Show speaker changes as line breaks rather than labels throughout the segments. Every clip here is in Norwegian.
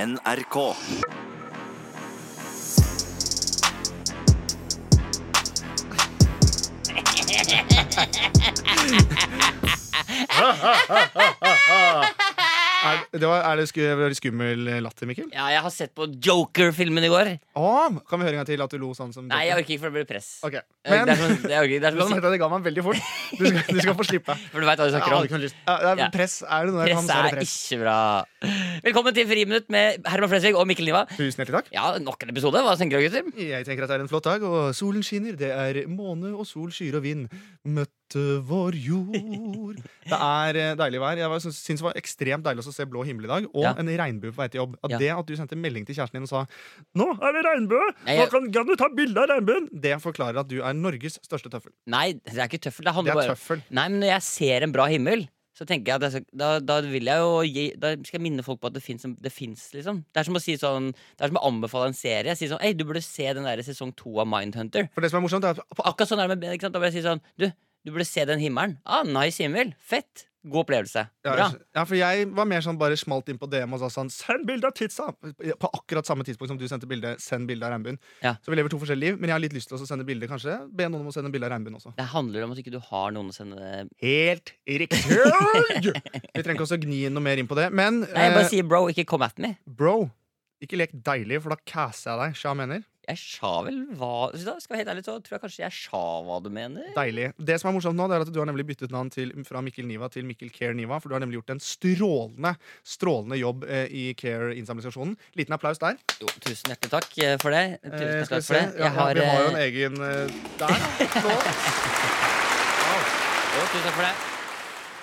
NRK.
Er, det var, er det sku, var det skummel latter, Mikkel?
Ja, jeg har sett på Joker-filmen i går.
Ah, kan vi høre en gang til at du lo sånn som
Nei, jeg orker ikke, for det blir press.
Ok,
Eh,
Men
det er sånn, det er, orker- det er
du
sånn,
sette, det ga meg veldig fort. Du skal, du skal få slippe.
for du veit hva du
Jeg
snakker
hadde
om.
ikke noe lyst. Ja, det
Ja.
er press er det noe jeg kan
Press
så er
er
det press.
ikke bra. Velkommen til Friminutt med Herman Flesvig og Mikkel Niva.
Tusen hjertelig takk.
Ja, nok en episode. Hva tenker dere, gutter?
Jeg tenker at det er en flott dag, og solen skinner. Det er måne og sol, skyer og vind. Møtte vår jord. Det er eh, deilig vær. Jeg var- syns syns det var ekstremt deilig også å se blå himmel i dag, og
Ja.
en regnbue på vei til jobb. At
Ja.
Det at du sendte melding til kjæresten din og sa 'Nå er det regnbue!
Nei,
Nå
jeg-
kan, kan du ta bilde av regnbuen?' Det forklarer at du er Norges største tøffel.
Nei, det er ikke tøffel. Det
Det
handler
er
bare
tøffel.
Nei, men når jeg ser en bra himmel, så tenker jeg at jeg skal, da, da vil jeg jo gi Da skal jeg minne folk på at det fins, det fins, liksom. Det er som å si sånn Det er som å anbefale en serie. Si sånn Ei, du burde se den der sesong to av Mindhunter.
For det som er morsomt, er at på
Akkurat sånn er det med ikke sant? Da vil jeg si sånn Du, du burde se den himmelen. Ah, nice himmel. Fett. God opplevelse.
Ja,
Bra.
ja, for jeg var mer sånn bare smalt inn på DM og sa sånn Send bilde av titsa! På akkurat samme tidspunkt som du sendte bilde. Send bilde av regnbuen.
Ja.
Så vi lever to forskjellige liv, men jeg har litt lyst til å sende bilde, kanskje. Be noen om å sende bilde av regnbuen også.
Det handler om at ikke du har noen å sende
Helt riktig! vi trenger ikke også gni noe mer inn på det, men
Nei, jeg bare
eh,
sier bro, ikke come at me.
bro, ikke lek deilig, for da casser jeg deg. Sja mener.
Jeg sa vel hva Så da Skal jeg være helt ærlig, så tror jeg kanskje jeg sa hva du mener.
Deilig. Det som er morsomt nå, det er at du har nemlig byttet navn til, fra Mikkel Niva til Mikkel Care Niva, for du har nemlig gjort en strålende, strålende jobb eh, i Care-innsamlingsaksjonen. Liten applaus der.
Jo, tusen hjertelig takk eh, for det. Tusen
Eh,
hjertelig
skal vi
takk
se.
for det.
Ja,
Jeg
ja,
har,
vi har jo en
eh,
egen eh, der. Så.
jo, tusen takk for det.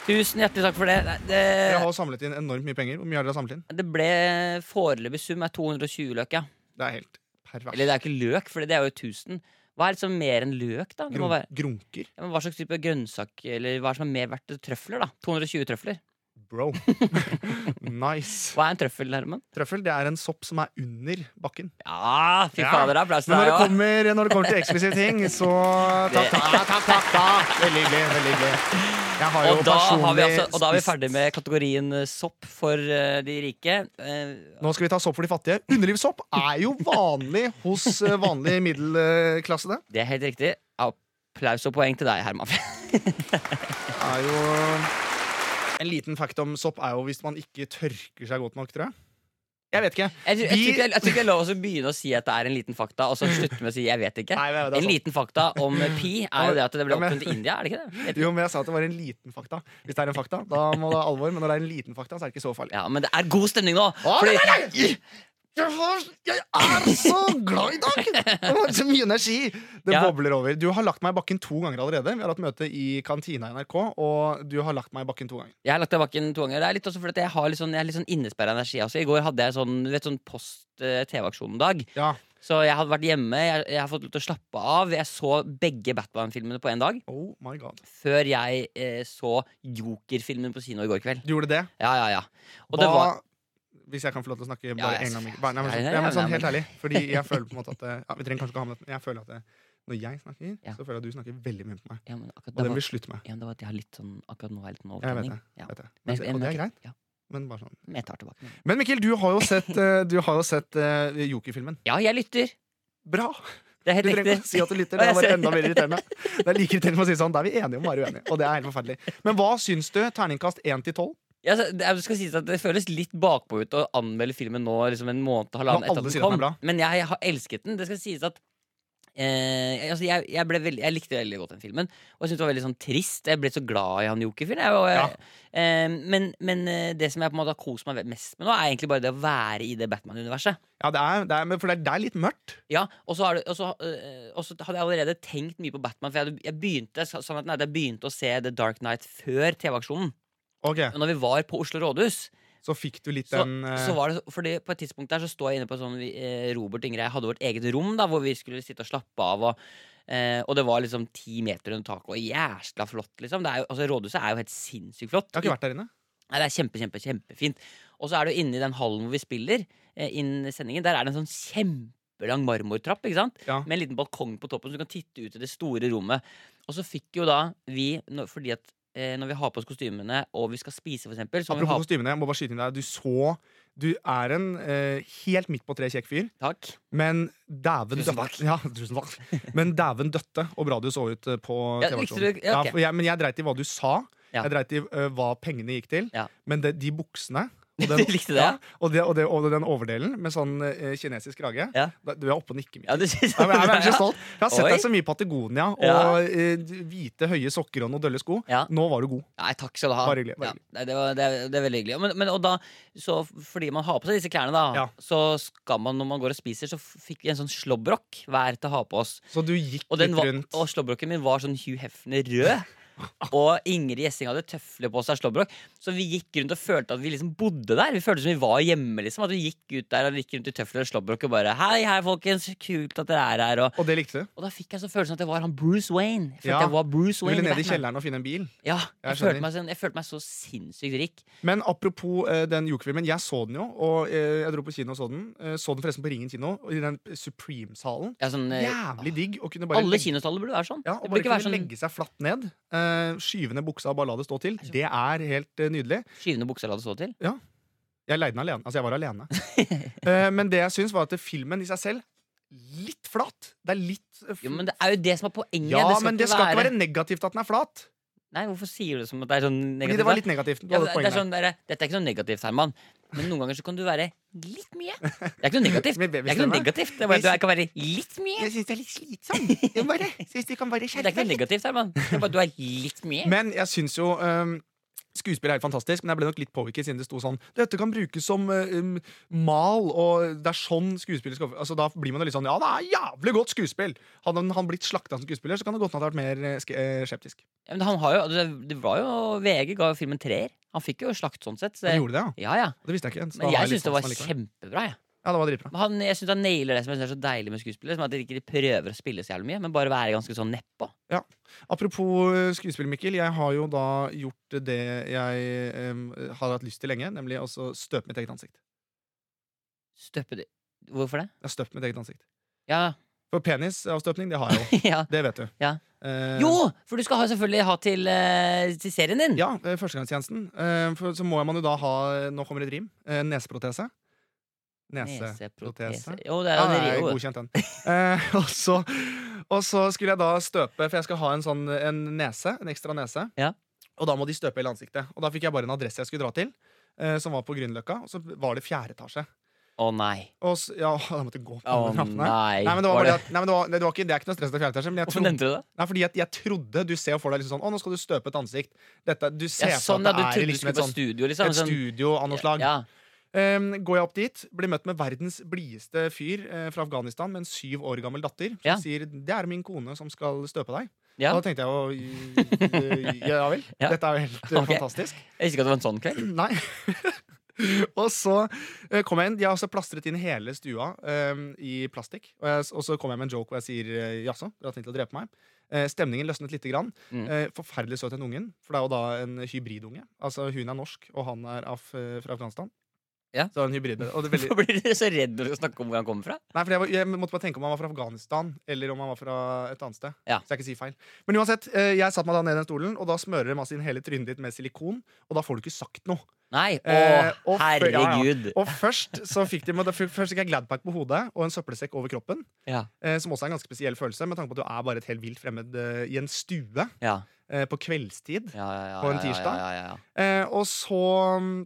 Tusen hjertelig takk for det. Nei, Det,
Dere har jo samlet inn enormt mye penger. Hvor mye har dere samlet inn?
det ble foreløpig sum er 220 løk, ja.
Det er helt pervers.
Eller det er ikke løk, for det er jo 1000. Hva er liksom mer enn løk, da? Det må
Grun
være,
grunker.
ja, men hva slags type grønnsak eller hva er som er mer verdt? Trøfler, da. 220 trøfler.
Bro. nice.
Hva er en trøffel, Herman?
Trøffel det er en sopp som er under bakken.
Ja, fy
Ja.
fader, applaus til
Men når
deg
det
òg.
kommer, når det kommer til eksplisitte ting, så takk, takk, takk, takk, takk, takk. Veldig hyggelig. Veldig hyggelig. Jeg har jo
Og da, har vi
personlig
altså, og da er vi
spist-
ferdig med kategorien eh, sopp for eh, de rike. Eh,
Nå skal vi ta sopp for de fattige. Underlivssopp er jo vanlig hos eh, vanlig middelklasse, det.
det er helt riktig. Applaus og poeng til deg, Herman.
er jo En liten fact om sopp er jo hvis man ikke tørker seg godt nok, tror jeg. Jeg vet ikke.
Jeg tror, jeg, tror
Vi-
ikke, jeg, jeg tror ikke det er lov å begynne å si at det er en liten fakta, og så slutte med å si 'jeg vet ikke'.
Nei, men det er
en
sant.
liten fakta om pi er jo det at det ble
Ja, men-
oppfunnet i India, er det ikke det? Jeg tror-
Jo, men jeg sa at det var en liten fakta. Hvis det er en fakta, da må det være alvor. Men når det er en liten fakta, så er det ikke så farlig.
Ja, men det er god stemning nå!
Å,
Fordi,
nei, nei, nei! Jeg, har, jeg er så glad i dag! Det var så mye energi! Det
Ja.
bobler over. Du har lagt meg i bakken to ganger allerede. Vi har hatt møte i kantina i NRK, og du har lagt meg i bakken to ganger.
jeg har lagt deg bakken to ganger. Det er litt også fordi at jeg har litt sånn, jeg er litt sånn innesperra energi. Altså. I går hadde jeg sånn, du vet, sånn post-TV-aksjonen-dag.
Ja.
Så jeg hadde vært hjemme, jeg, jeg har fått lov til å slappe av. Jeg så begge Batman-filmene på én dag.
Oh my god.
Før jeg eh, så Joker-filmen på kino i går kveld.
Du gjorde det?
Ja, ja, ja. Og
Hva,
det var
Hvis jeg kan få lov til å snakke
Ja,
bare
jeg-
en gang Mikkel. Bare- Nei, men,
Nei,
sånn-
nei,
ja, men
nei,
sånn
nei,
helt ærlig Fordi jeg føler på en måte at det- ja, Vi trenger kanskje ikke å ha med det Men jeg føler at det, Når jeg snakker
Ja.
Så føler jeg at du snakker veldig mye på meg
ja, men akkurat,
Og
det
det
var,
vil slutte med
ja, men det var at jeg har litt sånn Akkurat nå har jeg litt sånn
Jeg vet
overtenning.
det,
Ja.
vet jeg.
Men
Men, og
jeg-
det er
jeg-
greit
Ja,
Men bare sånn
men jeg tar tilbake. den.
Men Mikkel, du har jo sett eh, Du har jo sett eh, Joker-filmen
Ja, jeg lytter.
Bra!
Det er
Du
helt
trenger
riktig.
ikke å si at du lytter Det
Ja, jeg
er bare
ser-
enda mer irriterende Det er like irriterende som å si sånn Da er vi enige om å være uenige Og det er helt forferdelig Men hva synes du? Terningkast 1 til 12
Ja, så det, jeg skal si at det føles litt bakpå ut å anmelde filmen nå liksom en måned halvannen
Når alle
etter at
sier at den
den kom.
er bra.
Men jeg, har elsket den. Det skal sies at eh, altså jeg, jeg, ble veldig, jeg likte veldig godt den filmen. Og jeg syntes det var veldig sånn trist. Jeg ble så glad i han Joker-fyren. jeg, og jeg- eh, men men eh, det som jeg på en måte har kost meg mest med nå, er egentlig bare det å være i det Batman-universet.
Ja, det er, det er men For det er, det er litt mørkt
Ja, og så, har det- og så, øh, og så hadde jeg allerede tenkt mye på Batman. For jeg, hadde- jeg, begynte, sa- sannheten er at jeg begynte å se The Dark Knight før TV-aksjonen.
Ok,
Og når vi var på Oslo rådhus,
så fikk du litt
så,
den eh,
så var det så- fordi på et tidspunkt der så står jeg inne på sånn vi- eh, Robert Ingrid hadde vårt eget rom da hvor vi skulle sitte og slappe av. Og, eh, og det var liksom ti meter under taket, og jæsla flott, liksom. Det er jo, altså, rådhuset er jo helt sinnssykt flott.
Jeg har ikke vært der inne
Nei, det er kjempe, kjempe, kjempefint. Og så er du inne i den hallen hvor vi spiller, eh, inn i sendingen. Der er det en sånn kjempelang marmortrapp ikke sant?
Ja.
med en liten balkong på toppen, så du kan titte ut i det store rommet. Og så fikk jo da vi, nå- fordi at eh, når vi har på oss kostymene og vi skal spise, for eksempel, så må vi ha
Apropos kostymene, jeg må bare skyte inn deg. Du så Du er en eh, helt midt på tre kjekk fyr,
Takk.
men dæven
Tusen
døtte ja, tusen takk. Men dæven døtte og bra du så ut eh, på
Ja, likte
TV-aksjonen.
du- ja, ok.
for jeg, men jeg dreit i hva du sa.
Ja.
Jeg dreit i eh, hva pengene gikk til.
Ja.
Men det, de buksene og
Du likte det,
ja, og, det, og, det, og den overdelen med sånn eh, kinesisk krage.
Ja.
Da- Du er oppe og nikker mye.
Ja, du synes
Jeg, jeg, er så stolt. jeg har sett
Oi.
deg så mye i Patagonia og
Ja.
eh, hvite, høye sokker og noen dølle sko.
Ja.
Nå var du god.
Nei, takk skal du ha.
Bare hyggelig, bare
Ja, nei, det, var, det, er, det er veldig hyggelig. Men, men, og da, så fordi man har på seg disse klærne, da,
Ja.
så skal man når man går og spiser, så fikk vi en sånn slåbrok hver til å ha på oss.
Så du gikk
Og, den
litt
var,
rundt.
og slåbroken min var sånn Hugh Hefner rød. Og Ingrid Gjessing hadde tøfler på seg slåbrok. Så vi gikk rundt og følte at vi liksom bodde der. Vi følte som vi var hjemme. liksom At vi gikk ut der og gikk rundt i tøfler og slåbrok og bare Hei, hei, folkens, kult at dere er her. Og,
Og det likte du?
og da fikk jeg så følelsen at jeg var han Bruce Wayne. Jeg følte
Ja.
jeg var Bruce
Du
Wayne
ville ned i
Batman.
kjelleren og finne en bil. Jeg
Ja, jeg,
skjønner.
følte meg, sånn- jeg følte meg så sinnssykt rik.
Men apropos eh, den Joker-filmen. Jeg så den jo, og eh, jeg dro på kino og så den. Eh, så den forresten på Ringen kino, og i den Supreme-salen.
Ja, sånn, eh,
Jævlig digg å kunne
åh,
bare
alle
legge,
kinosaler burde være sånn.
ja,
det
og
burde
bare
ikke
kunne
være sånn
legge seg flatt ned. Eh, skyve ned buksa og bare la det stå til. Det er helt eh, nydelig.
skyvende bukser la det stå til.
Jeg leide den alene. Altså, jeg var alene. Eh, men det jeg syns, var at filmen i seg selv Litt flat. Det er litt eh, f-
Jo, men det er jo det som er poenget.
Ja, men det skal ikke være negativt at den er flat.
Nei, hvorfor sier du det som at det er sånn
Fordi
negativt?
det var
da?
litt negativt. Du
ja,
hadde
det,
et poeng
det er
der.
sånn der, Dette er ikke noe negativt, Herman. Men noen ganger så kan du være litt mye. Det er ikke noe negativt.
Men
Det er ikke noe
bestemmer.
negativt. Det er bare at du kan være litt mye.
Jeg syns det er litt slitsomt. Jeg bare syns du kan bare
Det er ikke noe negativt, Herman. Det er bare at du er litt mye.
Men jeg syns jo øhm, Skuespill er helt fantastisk, men jeg ble nok litt påvirket siden det sto sånn Dette kan brukes som øhm, mal, og det er sånn skuespillet skal Altså Da blir man jo litt sånn Ja, det er jævlig godt skuespill! Hadde han- han blitt slakta som skuespiller, så kan det godt hende han hadde vært mer eh, ske- eh, skeptisk.
Ja, Men han har jo, altså, det- det var jo VG ga jo filmen treer. Han fikk jo slakt sånn sett. Så,
Men gjorde det, ja.
ja, ja.
Det visste jeg ikke. så da
Men
har litt
jeg
sånn
syns det var
sansen allikevel.
kjempebra. jeg.
Ja, det var dritbra.
Men Han, jeg synes han nailer det som jeg synes er så deilig med skuespillere. Som at de ikke prøver å spille så jævlig mye, men bare være ganske sånn nedpå.
Apropos eh, skuespill, Mikkel. Jeg har jo da gjort det jeg eh, har hatt lyst til lenge, nemlig også støpe mitt eget ansikt.
Støppe de. Hvorfor det?
Jeg har støpt mitt eget ansikt.
Ja,
For penisavstøpning, det har jeg jo.
ja.
Det vet du.
Ja.
Eh,
Jo! For du skal ha, selvfølgelig ha til, eh, til serien din.
Ja, eh, førstegangstjenesten. Eh, For så må man jo da ha eh, Nå kommer et rim. eh, Neseprotese. Neseprotese.
Jo, det er
Ja,
jo det
jeg
jo.
godkjent den. Eh, og, så, og så skulle jeg da støpe, for jeg skal ha en sånn en nese. En ekstra nese.
Ja.
Og da må de støpe hele ansiktet. Og da fikk jeg bare en adresse jeg skulle dra til, eh, som var på Grünerløkka. Og så var det fjerde etasje.
Å nei.
Og så, ja, da måtte jeg gå på
Å
alle trappene.
nei.
Nei, men det var,
Var
bare
det-
at- nei, men det var, det var ikke, det er ikke noe stress til fjerde etasje. Men jeg
Hvorfor
trodde,
nevnte du det?
nei, fordi jeg, jeg trodde Du ser jo for deg liksom sånn Å, nå skal du støpe et ansikt. Dette, du ser
Ja, sånn,
for
ja,
deg at det
du trodde
er
du
liksom
skulle
et
på
sånn
studio, liksom.
et studio av noe slag.
Ja.
Ehm, går jeg opp dit, blir møtt med verdens blideste fyr eh, fra Afghanistan med en syv år gammel datter, som
Ja.
sier 'det er min kone som skal støpe deg'.
ja.
Og da tenkte jeg jo «Øh, Ja vel.
Ja.
Dette er jo helt eh,
Ok.
fantastisk.
Jeg visste ikke at det var en sånn kveld.
Nei. og så eh, kom jeg inn. De har også plastret inn hele stua ehm, i plastikk. Og, jeg, og så kom jeg med en joke hvor jeg sier eh, 'jaså, dere har tenkt å drepe meg'? Eh, stemningen løsnet lite grann.
Mm.
Eh, forferdelig søt den ungen, for det er jo da en hybridunge. Altså Hun er norsk, og han er af, eh, fra Afghanistan.
Ja.
Så er hun hybrid, og det er veldig,
Hvorfor blir du så redd når du skal snakke om hvor han kommer fra?
Nei, for jeg, var, jeg måtte bare tenke om han var fra Afghanistan eller om han var fra et annet sted.
Ja.
Så jeg ikke sier feil. Men uansett, eh, jeg satte meg da ned i den stolen, og da smører de altså inn hele trynet ditt med silikon, og da får du ikke sagt noe.
Nei, å
Eh, og før- ja, ja.
herregud.
Og først så fikk de da fikk- Først fikk jeg Gladpack på hodet og en søppelsekk over kroppen,
Ja,
eh, som også er en ganske spesiell følelse, med tanke på at du er bare et helt vilt fremmed eh, i en stue
ja,
eh, på kveldstid.
ja, ja, ja,
På en
ja,
tirsdag?
Ja, ja, ja.
Eh, og så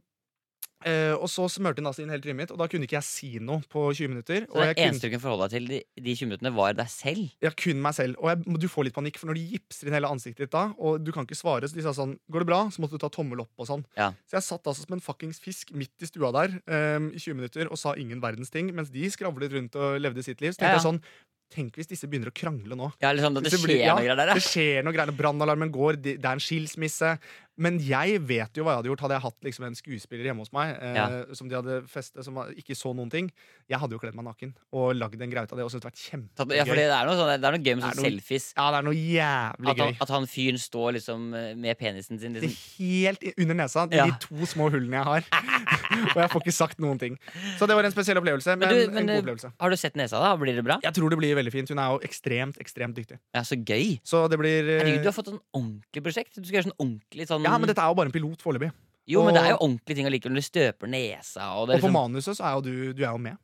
eh, Og så smørte hun altså inn hele trynet mitt, og da kunne ikke jeg si noe på 20 minutter.
Så
og
det
jeg kunne-
eneste du kunne forholde deg til de, de 20 minuttene, var deg selv?
Ja, kun meg selv. Og jeg, du får litt panikk, for når de gipser inn hele ansiktet ditt da, og du kan ikke svare, så de sa sånn Går det bra? Så måtte du ta tommel opp og sånn.
Ja.
Så jeg satt altså som en fuckings fisk midt i stua der ehm, i 20 minutter og sa ingen verdens ting, mens de skravlet rundt og levde sitt liv. Så tenkte
Ja, ja.
jeg sånn Tenk hvis disse begynner å krangle nå.
Ja, liksom, at det
Hvis det
skjer
blir- ja,
noe greier der, ja.
Det skjer noe greier. Brannalarmen går, de- det er en skilsmisse. Men jeg vet jo hva jeg hadde gjort hadde jeg hatt liksom en skuespiller hjemme hos meg eh,
Ja.
som de hadde festet, som ikke så noen ting. Jeg hadde jo kledd meg naken og lagd en greie ut av det. Og syntes det vært
Tatt,
kjempegøy.
ja, for det er noe, sånn, det er noe gøy med
Det er
sånn
noe
selfies.
Ja, det er noe jævlig
At han,
gøy.
at han fyren står liksom eh, med penisen sin
Det
liksom.
er Helt i- under nesa,
Ja.
de to små hullene jeg har. og jeg får ikke sagt noen ting. Så det var en spesiell opplevelse, men,
Men du, men,
en god
eh,
opplevelse.
Har du sett nesa, da? Blir det bra?
Jeg tror det blir veldig fint. Hun er jo ekstremt, ekstremt dyktig.
Ja, så gøy.
Så det blir eh,
Herregud, du har fått sånn ordentlig prosjekt. Du skal gjøre sånn ordentlig sånn
Ja, men dette er jo bare en pilot foreløpig.
Jo, men det er jo
og-
ordentlige ting allikevel. Du støper nesa og det
Og
er
på
liksom,
manuset så er jo du, du er jo med.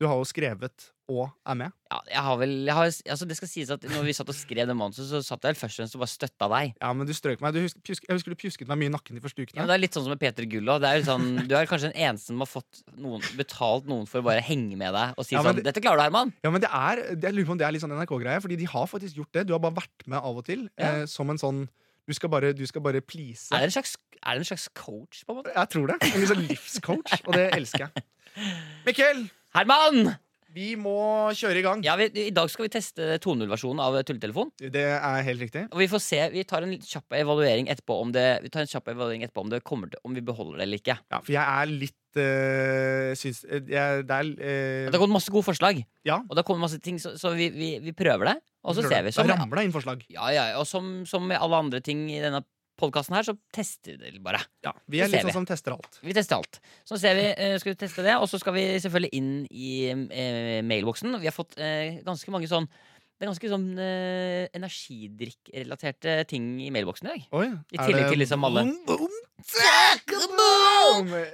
Du har jo skrevet og er med.
ja, jeg har vel, jeg har, altså, Det skal sies at når vi satt og skrev det manuset, så satt jeg vel først og fremst og bare støtta deg.
Ja, men du strøk meg. Du husk, pjusk, jeg husker du pjusket meg mye i nakken de første
Ja, men
ukene.
det er litt sånn som med Peter Gulla. Det er jo sånn, du er kanskje den eneste som har fått noen, betalt noen for å bare henge med deg og si
Ja, men
sånn 'Dette klarer du, Herman'.
Ja, men det er, Jeg lurer på om det er litt sånn NRK-greie, Fordi de har faktisk gjort det. Du har bare vært med av og til
Ja.
eh, som en sånn Du skal bare, du skal bare please.
Er det, en slags, er det en slags coach, på en måte?
Jeg tror det. En litt sånn livscoach, og det elsker jeg. Mikkel,
Herman!
vi må kjøre i gang.
Ja, vi, I dag skal vi teste 2.0-versjonen av Tulletelefon.
Det er helt riktig.
Og vi får se, vi tar en litt kjapp evaluering etterpå om det, vi tar en kjapp evaluering etterpå om det kommer til, om vi beholder det eller ikke.
Ja, for jeg er litt øh, syns, øh, jeg, Det er
Det
øh,
har gått masse gode forslag,
Ja.
og det har kommet masse ting, så, så vi, vi, vi prøver det. Og så
prøver.
ser vi. Som,
Da ramler det inn forslag.
ja, ja, og som, som med alle andre ting i denne podkasten her, så tester vi det bare.
Vi er
så ser
litt
vi.
sånn som tester alt.
Vi tester alt. Så ser vi, eh, skal vi teste det, og så skal vi selvfølgelig inn i eh, mailboksen. Vi har fått eh, ganske mange sånn Det er ganske sånn eh, energidrikkrelaterte ting i mailboksen i dag.
Oi,
I tillegg til liksom alle.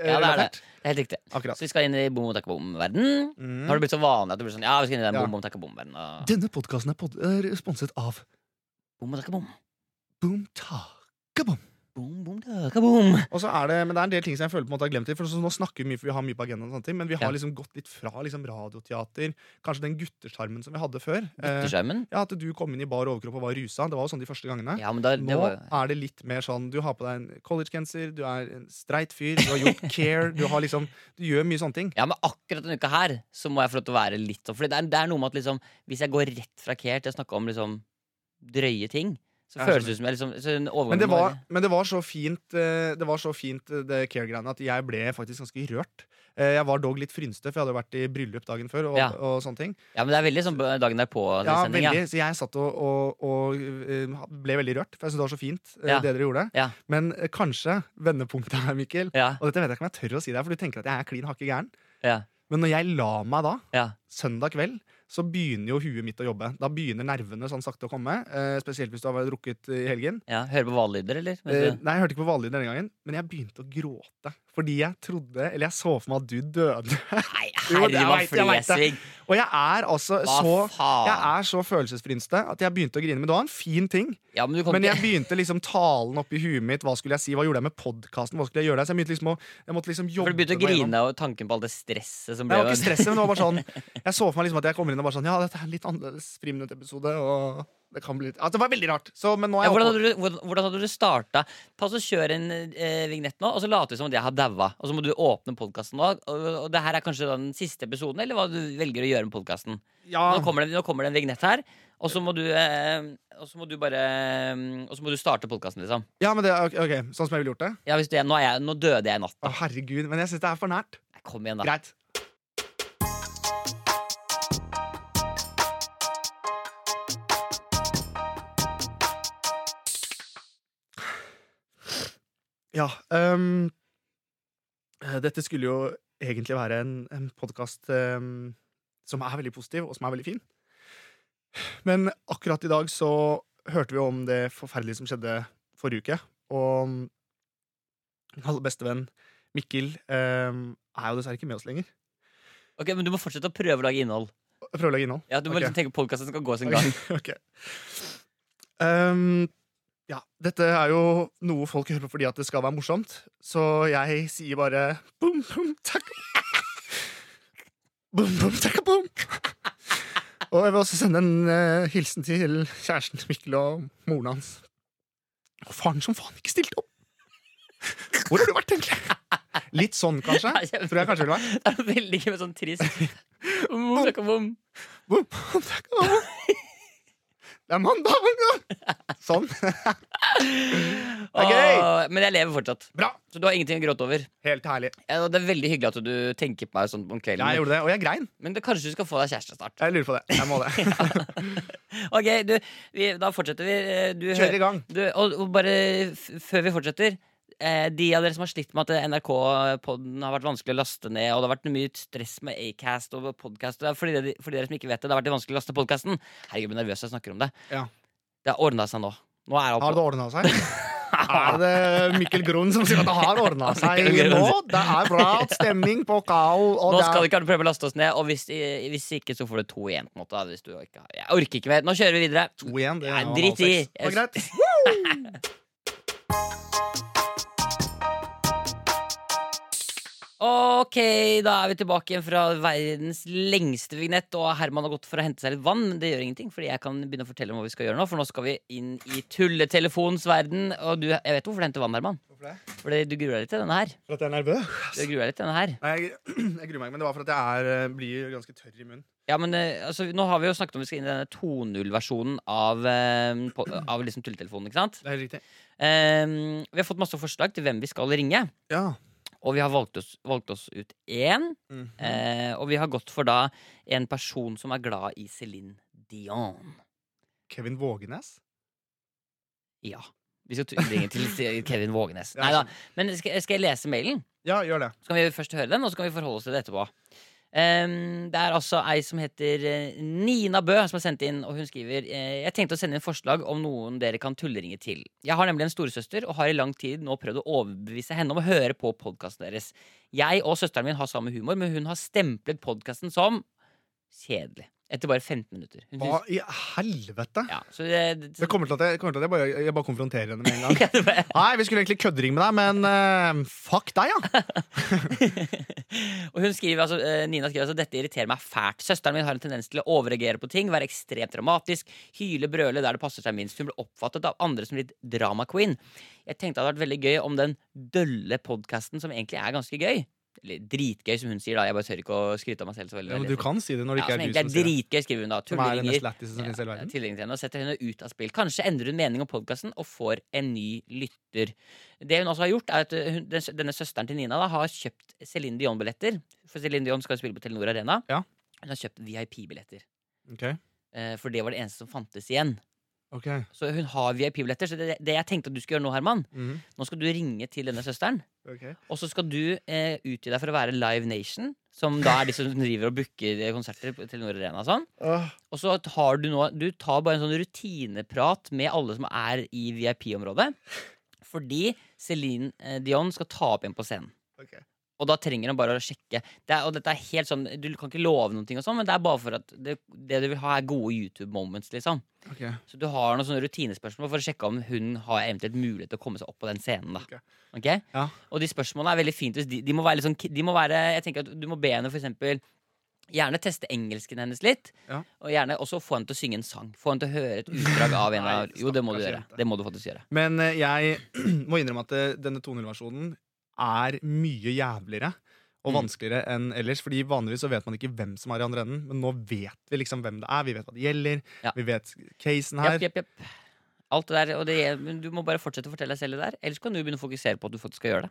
Ja, det er det. Det er helt riktig.
eh, Akkurat.
Så vi skal inn i bom og takk bom verden Nå har
Mm.
det blitt så vanlig at det blir sånn Ja, vi skal inn i den
Ja.
bom bom takk bom verden og
Denne podkasten er, pod er sponset av
Bom og takk bom.
Boom Taka Boom.
Bom bom takk bom.
Og så er det, men det er en del ting som jeg føler på en måte har glemt litt. For så- nå snakker vi mye, for vi har mye på agendaen, og sånne ting, men vi har
Ja.
liksom gått litt fra liksom radioteater. Kanskje den guttesjarmen som vi hadde før. Eh,
Gutteskjermen.
ja, At du kom inn i bar overkropp og var rusa. Det var jo sånn de første gangene.
Ja, men da det
Nå
var,
er det litt mer sånn Du har på deg en collegegenser, du er en streit fyr, du har gjort care, du har liksom Du gjør mye sånne ting.
Ja, men akkurat denne uka her Så må jeg få lov til å være litt sånn Fordi det er, det er noe med at liksom Hvis jeg går rett fra Care til å snakke om liksom Drøye ting Så
Ja, jeg
føles det ut som jeg liksom så en overgang
Men det
må
var,
være-
men det var så fint eh, Det var så fint eh, det care-greiene at jeg ble faktisk ganske rørt. Eh, Jeg var dog litt frynste, for jeg hadde jo vært i bryllup dagen før. Og,
Ja.
og sånne ting
Ja, men det er veldig sånn Dagen derpå
ja,
sending,
veldig, Så jeg satt og, og, og eh, ble veldig rørt, for jeg syntes det var så fint, eh,
Ja.
det dere gjorde.
Ja.
Men eh, kanskje vendepunktet her, Mikkel
ja
Og dette vet jeg ikke om jeg tør å si deg, for du tenker at jeg er klin hakke gæren.
Ja,
Men når jeg la meg da,
ja,
søndag kveld så begynner jo huet mitt å jobbe. Da begynner nervene sånn sakte å komme. Eh, spesielt hvis du har vært drukket eh, i helgen.
ja Hører på valglyder, eller?
Eh,
Mens du-
nei, jeg hørte ikke på vanlig denne gangen, men jeg begynte å gråte. Fordi jeg trodde, eller jeg så for meg at du døde.
Nei,
Jo, det
herre var
vet jeg, jeg vet det.
Flesvig
Og jeg er altså
Hva
så
faen?
jeg er så følelsesfrynste at jeg begynte å grine. Men det var en fin ting.
Ja, men du kan
Men
ikke
jeg begynte liksom talen oppi huet mitt. Hva skulle jeg si? Hva gjorde jeg med podkasten? Hva skulle jeg gjøre der? Så jeg begynte liksom å jeg måtte liksom jobbe
For du begynte å
meg gjennom.
grine av tanken på alt det stresset som
Nei,
ble
Det var ikke stresset, men det var bare sånn Jeg så for meg liksom at jeg kommer inn og bare sånn Ja, dette er en litt annerledes friminuttepisode, og det kan bli litt Ja, det var veldig rart. Så, men nå er
ja,
jeg
hvordan,
oppe.
hadde du, hvordan, hvordan hadde du starta? Ta så Kjør en eh, vignett nå, og så later vi som at jeg har daua. Og så må du åpne podkasten nå. Og, og det her er kanskje da den siste episoden, eller hva du velger å gjøre med podkasten.
Ja,
Nå, kommer det- nå kommer det en vignett her, og så må du, eh, og så må du bare eh, Og så må du starte podkasten, liksom.
ja, men det er ok, ok, sånn som jeg ville gjort det?
Ja, hvis du, nå, er jeg, nå døde jeg i natt.
Å, herregud. Men jeg syns det er for nært.
Nei, Kom igjen, da.
Ah. Greit. Ja. ehm, eh, dette skulle jo egentlig være en, en podkast som er veldig positiv, og som er veldig fin. Men akkurat i dag så hørte vi jo om det forferdelige som skjedde forrige uke. Og min aller beste venn Mikkel ehm, er jo dessverre ikke med oss lenger.
Ok, Men du må fortsette å prøve å lage innhold.
Jeg prøver å legge innhold.
Ja, du må
Ok.
liksom tenke Podkasten skal gå sin gang.
Ok. Ehm, ja, dette er jo noe folk hører på fordi at det skal være morsomt, så jeg sier bare boom, boom, takk. Boom, boom, takk, boom. Og jeg vil også sende en eh, hilsen til kjæresten til Mikkel og moren hans. Og faren som faen ikke stilte opp! Hvor har du vært, egentlig? Litt sånn, kanskje? Tror jeg kanskje ville vært.
Det er veldig gøy med sånn trist Om, om, om.
Boom, boom, takk, boom. Det er mandag! mandag! Sånn. er
Åh, men jeg lever fortsatt.
Bra.
Så du har ingenting å gråte over.
Helt herlig.
Ja, og det er veldig hyggelig at du tenker på meg sånn om kvelden.
Ja, jeg gjorde det, og jeg grein.
Men det, kanskje du skal få deg kjæreste snart.
Jeg lurer på det. Jeg må det.
Ok, du, vi, Da fortsetter vi. Eh, Du,
Kjør i gang.
Du, og, og bare f før vi fortsetter eh, De av dere som har slitt med at NRK-podden har vært vanskelig å laste ned, og det har vært mye stress med Acast og podkast og det er fordi, dere- for dere som ikke vet det, det har vært vanskelig å laste podkasten. Herregud, jeg blir nervøs når jeg snakker om det.
Ja.
Det har ordna seg nå. Nå er alt
Har det ordna seg? Er det Mikkel Grun som sier at det har ordna seg
Mikkel Grun.
nå? Det er bra stemning på Kao. Og
Nå
det
skal
er...
vi ikke prøve å laste oss ned, og hvis, eh, hvis ikke, så får du to igjen. på en måte da, hvis du ikke har. Jeg orker ikke mer. Nå kjører vi videre.
To igjen, det
Nei,
er jo
drit i.
analsex. Det er greit.
Ok, da er vi tilbake igjen fra verdens lengste vignett. Og Herman har gått for å hente seg litt vann, men det gjør ingenting. Fordi jeg kan begynne å fortelle om hva vi skal gjøre nå, for nå skal vi inn i tulletelefonens verden. Og du, jeg vet hvorfor du henter vann, Herman.
Hvorfor det?
Fordi du gruer deg litt til denne her.
For at jeg er nervøs?
Du gruer deg litt til denne her.
Nei, jeg, jeg gruer meg, men det var for at jeg er, eh, blir ganske tørr i munnen.
Ja, men eh, altså, nå har vi jo snakket om vi skal inn i denne 2.0-versjonen av, eh, po- av liksom tulletelefonen, ikke sant?
Det er helt riktig.
Eh, vi har fått masse forslag til hvem vi skal ringe.
Ja.
Og vi har valgt oss, valgt oss ut én.
Mhm.
Eh, og vi har gått for da en person som er glad i Céline Dion.
Kevin Vågenes?
Ja. Vi skal tu- ringe til Se- Kevin Vågenes.
Ja,
Neida. Men skal, skal jeg lese mailen?
Ja, gjør det.
Så kan vi først høre den, og så kan vi forholde oss til det etterpå. Ehm, det er altså ei som heter eh, Nina Bø, som har sendt inn, og hun skriver eh, Jeg tenkte å sende inn forslag om noen dere kan tulleringe til. Jeg har nemlig en storesøster, og har i lang tid nå prøvd å overbevise henne om å høre på podkasten deres. Jeg og søsteren min har samme humor, men hun har stemplet podkasten som kjedelig. Etter bare 15 minutter. Hun
Hva
synes-
i helvete?
ja, så det, det,
Det kommer til at jeg, kommer til at jeg, bare, jeg bare konfronterer henne med en gang.
Ja, det var-
Nei, vi skulle egentlig kødderinge med deg, men eh, fuck deg, ja!
og hun skriver, altså, eh, Nina skriver altså, dette irriterer meg fælt. Søsteren min har en tendens til å overreagere på ting, være ekstremt dramatisk, hyle, brøle der det passer seg minst. Hun ble oppfattet av andre som litt drama queen. Jeg tenkte det hadde vært veldig gøy om den dølle podkasten, som egentlig er ganske gøy Eller dritgøy, som hun sier, da. Jeg bare tør ikke å skryte av meg selv så veldig.
ja men du kan si det når
ja,
det
som
ikke er du
egentlig er
som sier det.
dritgøy, skriver hun da.
Som er den
Tulleringer.
mest lættises som finnes i hele verden.
Tilgjengelig til henne og setter henne ut av spill. Kanskje endrer hun mening om podkasten og får en ny lytter. Det hun også har gjort, er at uh, hun, den- denne søsteren til Nina da, har kjøpt Céline Dion-billetter. For Céline Dion skal jo spille på Telenor Arena.
Ja.
Hun har kjøpt VIP-billetter.
Ok,
eh, For det var det eneste som fantes igjen.
ok.
Så hun har VIP-billetter. Så det, det jeg tenkte at du skulle gjøre nå, Herman,
Mhm.
nå skal du ringe til denne søsteren.
Ok.
Og så skal du eh, utgi deg for å være Live Nation, som da er de som driver og booker eh, konserter på Telenor Arena og sånn.
Åh,
Og så tar du nå Du tar bare en sånn rutineprat med alle som er i VIP-området. Fordi Céline eh, Dion skal ta opp en på scenen.
ok.
Og da trenger han bare å sjekke. Det er, og dette er helt sånn, Du kan ikke love noe, og sånn, men det er bare for at det, det du vil ha, er gode YouTube-moments. liksom.
Ok.
Så du har noen sånne rutinespørsmål for å sjekke om hun har eventuelt mulighet til å komme seg opp på den scenen. da.
Ok.
Ok?
Ja.
Og de spørsmålene er veldig fint. hvis De, de, må være litt sånn, ki- de må være, jeg tenker at Du må be henne for eksempel, gjerne teste engelsken hennes litt.
Ja.
Og gjerne også få henne til å synge en sang. Få henne til å høre et utdrag av en
Nei,
av Jo, det må du
stakkars
gjøre.
jente.
Det må du faktisk gjøre.
Men eh, jeg må innrømme at eh, denne 2.0-versjonen er mye jævligere og
Mm.
vanskeligere enn ellers. Fordi vanligvis så vet man ikke hvem som er i andre enden, men nå vet vi liksom hvem det er. Vi vet hva det gjelder,
Ja.
vi vet casen her.
Japp, japp, japp. Alt det der, og det, men Du må bare fortsette å fortelle deg selv det der. Ellers kan du begynne å fokusere på at du faktisk skal gjøre det.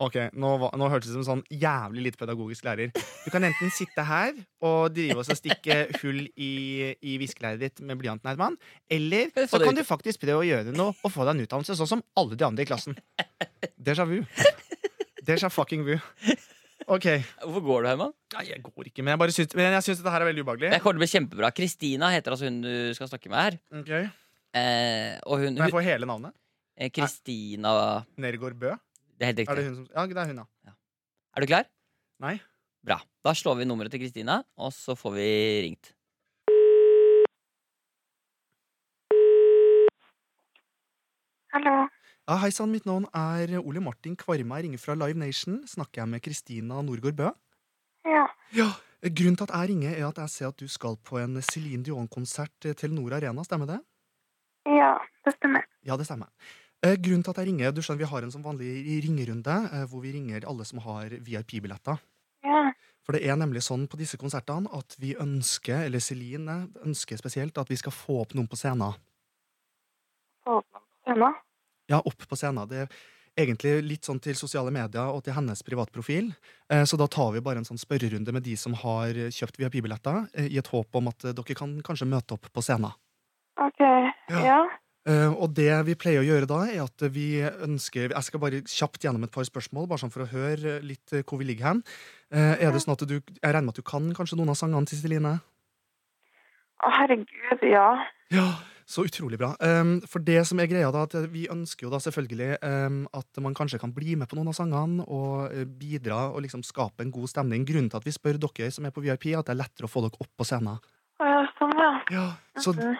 Ok, nå, var- nå hørtes det ut som en sånn jævlig litt pedagogisk lærer. Du kan enten sitte her og drive oss og stikke hull i, i viskelæret ditt med blyanten, Herman. Eller
Kan du
så
få det
kan
ut?
du faktisk prøve å gjøre noe og få deg en utdannelse, sånn som alle de andre i klassen. Déjà vu. Déjà fucking vu. Ok.
Hvorfor går du, Herman?
Nei, jeg går ikke, men jeg bare syns, men jeg syns dette her er veldig ubehagelig.
Jeg kommer til å bli kjempebra. Kristina heter altså hun du skal snakke med her.
Ok.
Eh, og hun
Må jeg få hele navnet?
eh, Kristina
Nergård Bø?
Det er helt
Er det
riktig.
hun som Ja, det er hun, ja.
Er du klar?
Nei.
Bra. Da slår vi nummeret til Kristina, og så får vi ringt.
Hallo.
ja Hei sann, mitt navn er Ole Martin Kvarme. Jeg ringer fra Live Nation. Snakker jeg med Kristina Norgård Bø?
Ja.
Ja. Grunnen til at jeg ringer, er at jeg ser at du skal på en Céline Dion-konsert eh, Telenor Arena. Stemmer det?
Ja, det stemmer.
Ja, det stemmer. Eh, Grunnen til at jeg ringer, du skjønner Vi har en sånn vanlig ringerunde eh, hvor vi ringer alle som har VIP-billetter.
Ja.
For det er nemlig sånn på disse konsertene at vi ønsker, eller Celine ønsker spesielt, at vi skal få opp noen på scenen.
Få opp noen på scenen.
Ja, opp på scenen. Det er egentlig litt sånn til sosiale medier og til hennes privatprofil. Eh, Så da tar vi bare en sånn spørrerunde med de som har eh, kjøpt VIP-billetter, eh, i et håp om at eh, dere kan kanskje møte opp på scenen.
Ok.
Ja.
Ja.
Eh, Og det vi pleier å gjøre da, er at vi ønsker Jeg skal bare kjapt gjennom et par spørsmål, bare sånn for å høre eh, litt eh, hvor vi ligger hen. Eh, Er det sånn at du Jeg regner med at du kan kanskje noen av sangene til Celine?
Å, herregud, ja.
Ja, så utrolig bra. Ehm, for det som er greia da, at vi ønsker jo da selvfølgelig ehm, at man kanskje kan bli med på noen av sangene og eh, bidra og liksom skape en god stemning. Grunnen til at vi spør dere som er på VIP, er at det er lettere å få dere opp på scenen.
Å, ja, sånn, ja.
Ja, så,
Mhm.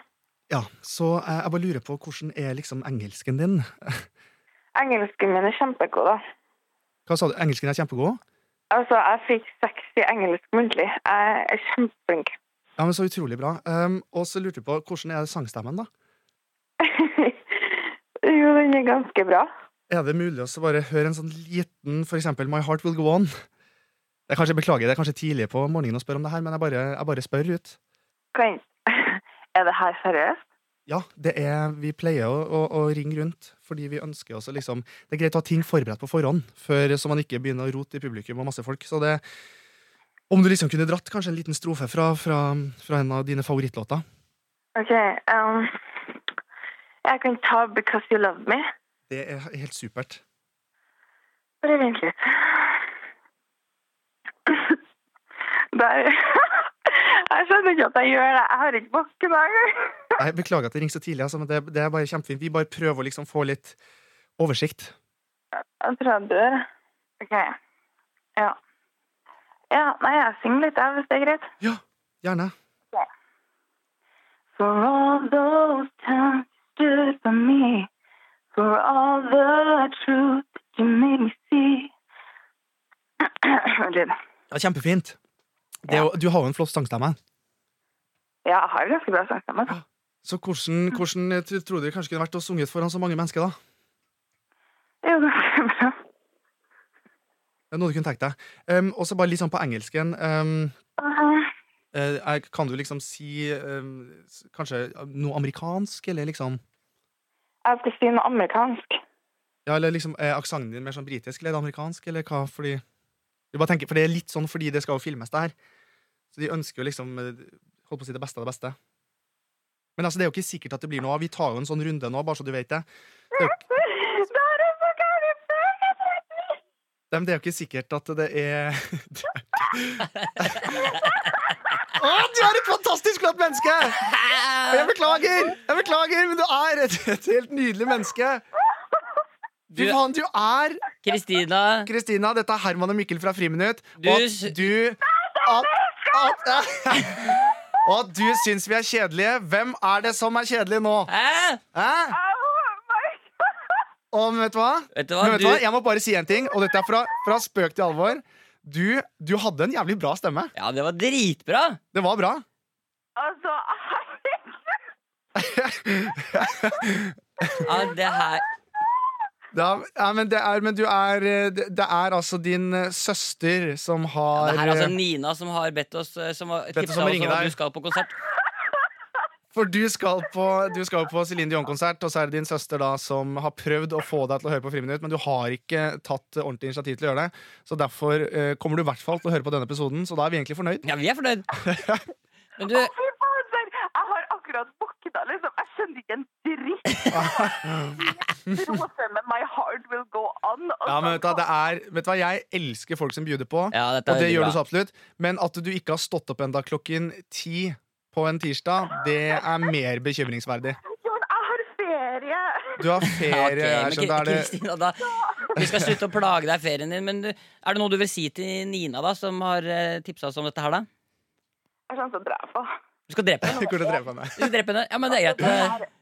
ja, så eh, jeg, jeg bare lurer på hvordan er liksom engelsken din?
Engelsken min er kjempegod, da.
Hva sa du? Engelsken er kjempegod?
Altså, jeg fikk seks i engelsk muntlig. Jeg er kjempeflink.
Ja, men så utrolig bra. Ehm, og så lurte jeg på, hvordan er sangstemmen da?
jo, den er ganske bra.
Er det mulig å så bare høre en sånn liten, for eksempel My Heart Will Go On? Det er kanskje, beklager, det er kanskje tidlig på morgenen å spørre om det her, men jeg bare, jeg bare spør ut.
Vent. Er det her seriøst?
Ja, det er, vi pleier å, å, å ringe rundt, fordi vi ønsker også liksom Det er greit å ha ting forberedt på forhånd, før, så man ikke begynner å rote i publikum og masse folk. Så det Om du liksom kunne dratt kanskje en liten strofe fra, fra, fra en av dine favorittlåter?
Ok, um, jeg kan ta Because You Love Me.
Det er helt supert.
Bare vent litt. Der. Jeg skjønner ikke at jeg gjør det. Jeg har ikke bakken engang.
Nei, beklager at det ringer så tidlig, altså, men det, det er bare kjempefint. Vi bare prøver å liksom få litt oversikt.
Jeg tror jeg dør. Ok. Ja. Ja, nei, jeg synger litt, jeg, hvis det er greit.
Ja, gjerne.
For all those times you stood by me, for all the truth that you made me see. Vent litt.
Ja, kjempefint. Det, er jo- Du har jo en flott sangstemme.
Ja, jeg har ganske bra sangstemme. da.
Så hvordan, hvordan tr- tror dere kanskje kunne vært å sunget foran så mange mennesker, da?
Det er jo ganske bra.
Det er noe du kunne tenkt deg. Um, og så bare litt sånn på engelsken. Um, eh, er- kan du liksom si um, s- kanskje noe amerikansk, eller liksom
Jeg skal si noe amerikansk.
Ja, eller liksom er aksenten din mer sånn britisk eller er det amerikansk, eller hva? Fordi du bare tenker, For det er litt sånn fordi det skal jo filmes, det her. Så de ønsker jo liksom eh, Holdt på å si det beste av det beste. Men altså, det er jo ikke sikkert at det blir noe av. Vi tar jo en sånn runde nå, bare så du vet det. Det er jo,
Da er det så gærent!
Nei, men det er jo ikke sikkert at det er Det er ikke- Å, du er et fantastisk flott menneske! Og Jeg beklager, jeg beklager, men du er et, et helt nydelig menneske. Du,
Du-
faen, du er
Kristina,
Kristina. Dette er Herman og Mikkel fra Friminutt.
Du
og
s-
at du at, at, Og at du syns vi er kjedelige. Hvem er det som er kjedelig nå?
hæ?
Hæ? Og vet du hva?
Vet du hva,
Men vet du
du-
hva? Jeg må bare si en ting, og dette er fra, fra spøk til alvor. Du, du hadde en jævlig bra stemme.
Ja, det var dritbra!
Det var bra.
Altså,
Ja, det her
Det er, ja, men det er, men du er eh, Det det er altså din eh, søster som har
Det her er altså
eh,
Nina som har bedt oss eh, Som har
oss
tipset oss
om å
om
ringe
at
deg.
du skal på konsert.
For du skal på, du skal på Celine Dion-konsert, og så er det din søster da som har prøvd å få deg til å høre på Friminutt, men du har ikke tatt eh, ordentlig initiativ til å gjøre det. Så derfor eh, kommer du i hvert fall til å høre på denne episoden, så da er vi egentlig fornøyd.
Ja, vi er fornøyd. Men du,
fy fader! Jeg har akkurat våkna, liksom. Jeg skjønner ikke en dritt. Strofe med 'My heart will go on'. og
Ja, men vet du,
så-
hva, det er, vet du hva, jeg elsker folk som bjuder på,
ja, dette
og
er
det
veldig
gjør du sånn. så
bra.
absolutt, men at du ikke har stått opp enda klokken ti på en tirsdag, det er mer bekymringsverdig.
Jo, men jeg har ferie!
Du har
Ja,
ferie,
ok, men
jeg eh, skjønner, da er det
Kristina, da, vi skal slutte å plage deg i ferien din, men du, er det noe du vil si til Nina, da, som har eh, tipsa oss om dette her, da?
Jeg kommer til å drepe henne.
Du skal drepe henne?
Hvordan dreper jeg meg?
Du skal drepe henne? Ja, men det er greit. eh,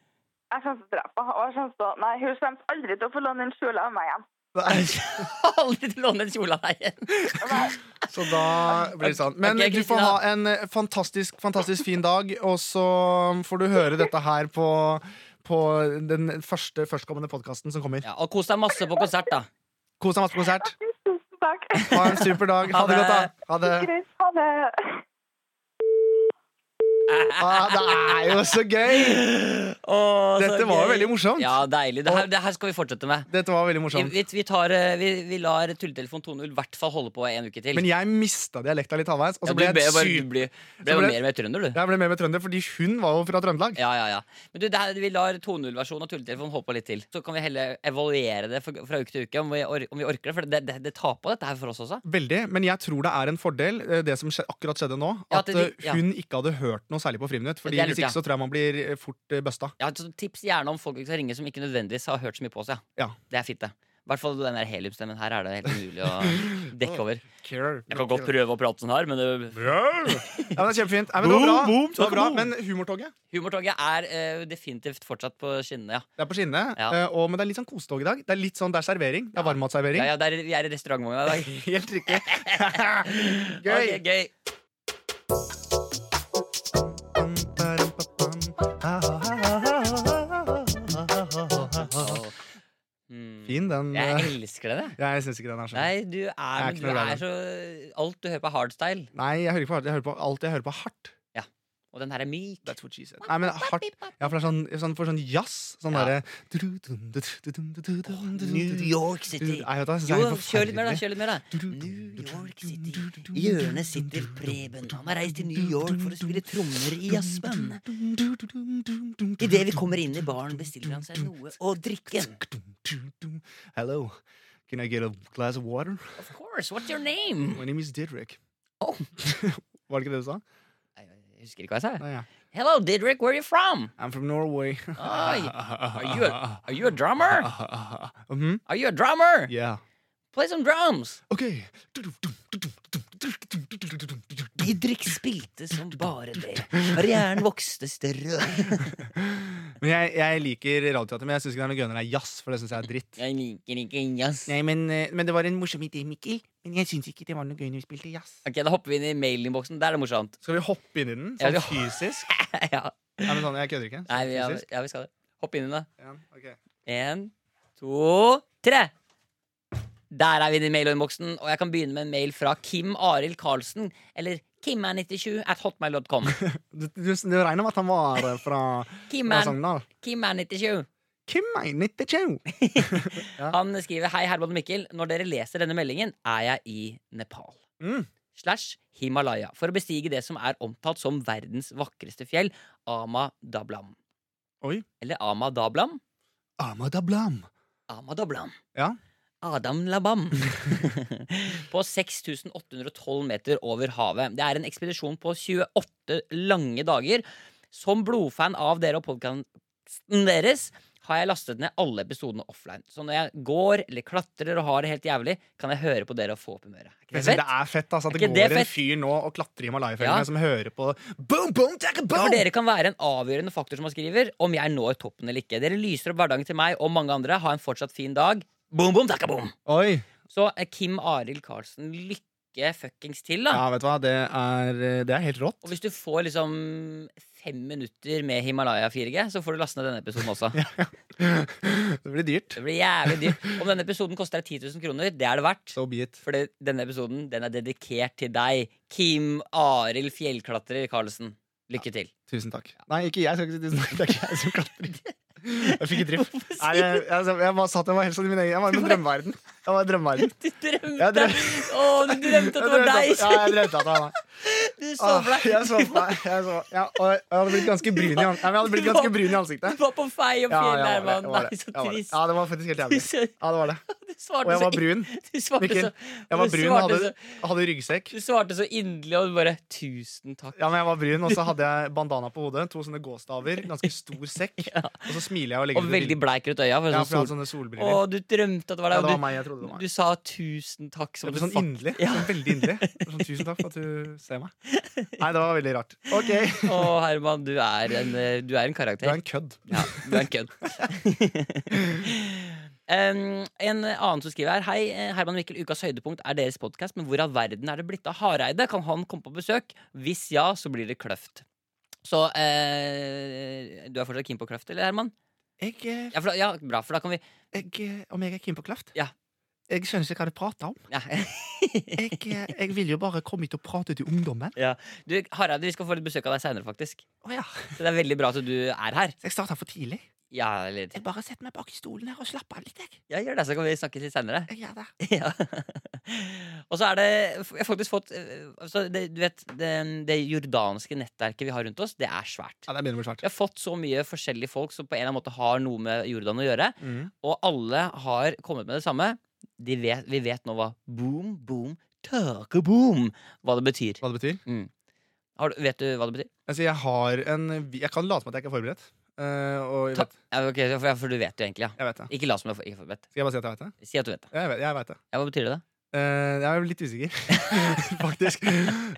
Jeg kommer til å drepe henne. Og jeg kommer til å Nei, hun kommer aldri til å få låne en kjole av meg igjen.
Aldri til å låne en kjole av deg igjen.
Så da blir det sånn. Men
Ok,
du får
Kristina.
ha en eh, fantastisk, fantastisk fin dag, og så får du høre dette her på, på den første førstkommende podkasten som kommer.
Ja, og kos deg masse på konsert, da.
Kos deg masse på konsert.
Tusen takk.
Ha en super dag. Ha det
Ha det.
godt, da. Ha det.
Greit. Ha det.
Ah, det er jo så gøy!
Å, så
Dette var jo
Altså, gøy.
veldig morsomt.
Ja, deilig. Det her, det her skal vi fortsette med.
Dette var veldig morsomt.
Vi, vi, tar, eh, vi, vi lar tulletelefon 2.0 i hvert fall holde på en uke til.
Men jeg mista dialekta litt halvveis, og
Ja,
så
du
ble
ble,
jeg
bare-
syk.
du ble,
så
ble jo
ble-
mer og mer trønder, du.
Jeg ble med med trønder, fordi hun var jo fra Trøndelag.
Ja, ja, ja. Men du, det her, vi lar 2.0-versjonen av tulletelefonen holde på litt til. Så kan vi heller evaluere det fra, fra uke til uke, om vi, or om vi orker det. For det, det, det tar på dette her for oss også.
Veldig, men jeg tror det er en fordel, eh, det som skje, akkurat skjedde nå,
Ja,
at
at det-
eh,
ja.
hun ikke hadde hørt noe særlig på Friminutt. Fordi
Det er lurt,
hvis ikke
ja.
så tror jeg man blir eh, fort eh, busta.
Ja, så tips gjerne om folk som ringer som ikke nødvendigvis har hørt så mye på oss. Ja.
Ja.
Det er fint, det. I hvert fall den der heliumstemmen. Her er det helt umulig å dekke over. Jeg kan godt prøve å prate sånn her, men det
Ja, men det er kjempefint. Nei, men det var bra.
Boom, boom,
det var bra.
takk, boom.
Men humortoget
Humortoget er eh, definitivt fortsatt på skinnene, ja.
det er på skinnene.
Ja.
eh, og- Men det er litt sånn kosetog i dag. Det er litt sånn, det er servering. Det er varmmatservering.
ja, ja det er, vi er i restaurantvogna i dag.
Helt riktig. Gøy.
Ok, gøy. Mm.
Fin, den. eh,
Jeg elsker det. det.
Jeg syns ikke den er sånn.
Nei, du er,
er
men
ikke
du
noe glad i
er så Alt du hører på, er hardstyle.
Nei, jeg hører ikke på hardt. Jeg hører på alt jeg hører på hardt.
Og den her er myk.
That's what she said. Nei, men hardt Ja, for det er sånn, sånn, for sånn jazz. Sånn
Ja.
derre New
New York City.
Nei, vet du, hva, jeg synes
Jo,
det er helt
kjør litt mer, da.
forferdelig.
kjør litt mer da New York City. I hjørnet sitter Preben. Han har reist til New York for å spille trommer i jazzband. Idet vi kommer inn i baren, bestiller han seg noe å drikke.
Hello. Can I get a glass of water?
Of course, what's your name?
My name is Didrik.
Oh.
Var det ikke det du sa?
Nei, Jeg husker ikke hva jeg sa.
Nei, ja.
Hello, Didrik, where are you from?
I'm from Norway.
Oi. Are you a, are you a drummer?
Mhm.
Are you a drummer?
Yeah.
Play some drums!
Okay.
Didrik spilte som bare det. Karrieren vokste større.
Men jeg, jeg liker radioteater, men jeg syns ikke det er noe gøy når det er jazz, for det syns jeg er dritt.
Jeg liker ikke jazz.
Nei, men, eh, men det var en morsom idé, Mikkel. Men jeg syns ikke det var noe gøy når vi spilte jazz.
Ok, Da hopper vi inn i mailinnboksen. Der er det morsomt.
Skal vi hoppe inn i den?
Ja,
Sånn
vi-
fysisk?
ja.
Nei, men sånn, jeg kødder ikke. Sånn
Nei, vi, ja,
fysisk.
ja, vi skal det. Hopp inn i det.
Ja, ok.
Én, to, tre. Der er vi inne i mailinnboksen, og jeg kan begynne med en mail fra Kim Arild Karlsen. Eller kimman97 at hotmail.com.
Du, du, du regner med at han var eh, fra, fra
Kimman,
Sogndal?
Kimman97.
Kim er 92.
Han skriver Hei, Herman og Mikkel. Når dere leser denne meldingen, er jeg i Nepal.
Mm.
Slash Himalaya for å bestige det som er omtalt som verdens vakreste fjell, Ama Dablam.
Oi.
Eller Ama Dablam.
Amada Blam.
Ama Dablam.
Ja.
Adam Labam. på 6812 meter over havet. Det er en ekspedisjon på 28 lange dager. Som blodfan av dere og podkasten deres har jeg lastet ned alle episodene offline. Så når jeg går eller klatrer og har det helt jævlig, kan jeg høre på dere og få opp humøret. Er ikke
Det
det fett?
er fett, altså. At
Er
det
ikke det
går en
fett?
fyr nå og klatrer i
Ja.
Himalaya-fjellene som hører på boom, boom, takka,
Ja,
boom!
for Dere kan være en avgjørende faktor som han skriver om jeg når toppen eller ikke. Dere lyser opp hverdagen til meg og mange andre. Ha en fortsatt fin dag. Boom, boom, takka, boom.
Oi.
Så eh, Kim Arild Karlsen, lykke fuckings til, da.
Ja, vet du hva, det er, eh, det er helt rått.
Og hvis du får liksom fem minutter med Himalaya 4G, så får du laste ned denne episoden også.
Det blir dyrt.
Det blir jævlig dyrt. Om denne episoden koster deg 10 000 kroner, det er det verdt.
So be it.
For det- denne episoden den er dedikert til deg, Kim Arild Fjellklatrer Karlsen. Lykke til.
Tusen takk. Nei, ikke jeg. skal ikke si tusen takk. Det er ikke jeg som klatrer. Jeg fikk et drift.
Hvorfor sier
Nei, jeg, jeg, jeg bare satt jeg var helt sånn i min egen Jeg var i min drømmeverden. Jeg var i drømmeverden.
Du drømte!
Jeg drøm-
Å, du drømte at det var
Jeg
deg!
drømte at- Ja, jeg drømte at det var meg.
Du så
Åh,
for deg.
Jeg så for meg. Jeg, så, ja, og jeg hadde blitt ganske brun i, an- Nei, men jeg hadde blitt ganske brun i ansiktet.
Du var på fei opp
Ja, jeg var
fjellet,
det,
Herman.
jeg var
Nei,
det,
så
jeg var det.
trist.
Ja, det var faktisk helt
Du
jævlig.
så-
Ja, det var det.
Du svarte
Og jeg
så
var
inn-
brun.
Du svarte
Mikkel,
så
Jeg var
du
brun og
svarte
hadde,
så-
hadde ryggsekk.
Du svarte så inderlig, og du bare 'tusen takk'.
Ja, men jeg var brun, og så hadde jeg bandana på hodet, to sånne gåstaver, ganske stor sekk. Og så smiler jeg og legger
Og
ut
veldig
bilder.
bleik rundt øya. For
Ja, for jeg
sånn
hadde
sol.
sånne solbriller.
Å, du drømte at det var
Ja,
deg.
det var
og
meg. Jeg trodde det var
Du,
meg.
du sa 'tusen takk' som
Jeg
du
ble sånn inderlig. Sånn veldig inderlig. Sånn, tusen takk for at du ser meg. Nei, det var veldig rart. OK.
Å, Herman, du er en, eh, du er en
Du er
karakter.
en kødd.
Ja, du er en kødd. Em, en annen som skriver her Hei, eh, Herman og Mikkel, ukas høydepunkt er deres podkast, men hvor av verden er det blitt av Hareide? Kan han komme på besøk? Hvis ja, så blir det kløft. Så eh, du er fortsatt keen på kløft, eller, Herman?
Jeg, eh,
Ja, for da, ja, bra, for da kan vi
jeg, eh, om jeg er keen på klaft?
Ja.
Jeg skjønner ikke hva de prater om.
Ja.
Jeg, eh, jeg vil jo bare komme hit og prate til ungdommen.
ja. Du, Harald, vi skal få litt besøk av deg seinere, faktisk.
Å ja,
Så det er veldig bra at du er her.
Jeg starta for tidlig.
Ja, eller
Jeg bare setter meg bak i stolen her og slapper av litt. Jeg.
Ja, gjør det, så kan vi snakkes litt seinere.
Jeg gjør det.
Ja. Og så er det Jeg har faktisk fått eh, altså det, Du vet, det, det jordanske nettverket vi har rundt oss, det er svært.
Ja, det er minimum svært.
Vi har fått så mye forskjellige folk som på en eller annen måte har noe med Jordan å gjøre.
Mm.
Og alle har kommet med det samme. De vet, vi vet nå hva boom, boom, tørkeboom Hva det betyr.
Hva det betyr?
Har du, vet du hva det betyr?
Altså, jeg har en Jeg kan late som at jeg ikke er forberedt. Eh, og jeg
Ta-
vet,
Ja, ok, for, ja, for du vet jo egentlig, ja.
jeg vet det.
Ikke la som du ikke får bedt.
Skal jeg bare si at jeg vet det?
Si at du vet det.
Ja, Jeg vet, jeg vet det.
Ja, hva betyr det, da?
Eh, jeg er litt usikker, faktisk. Eh,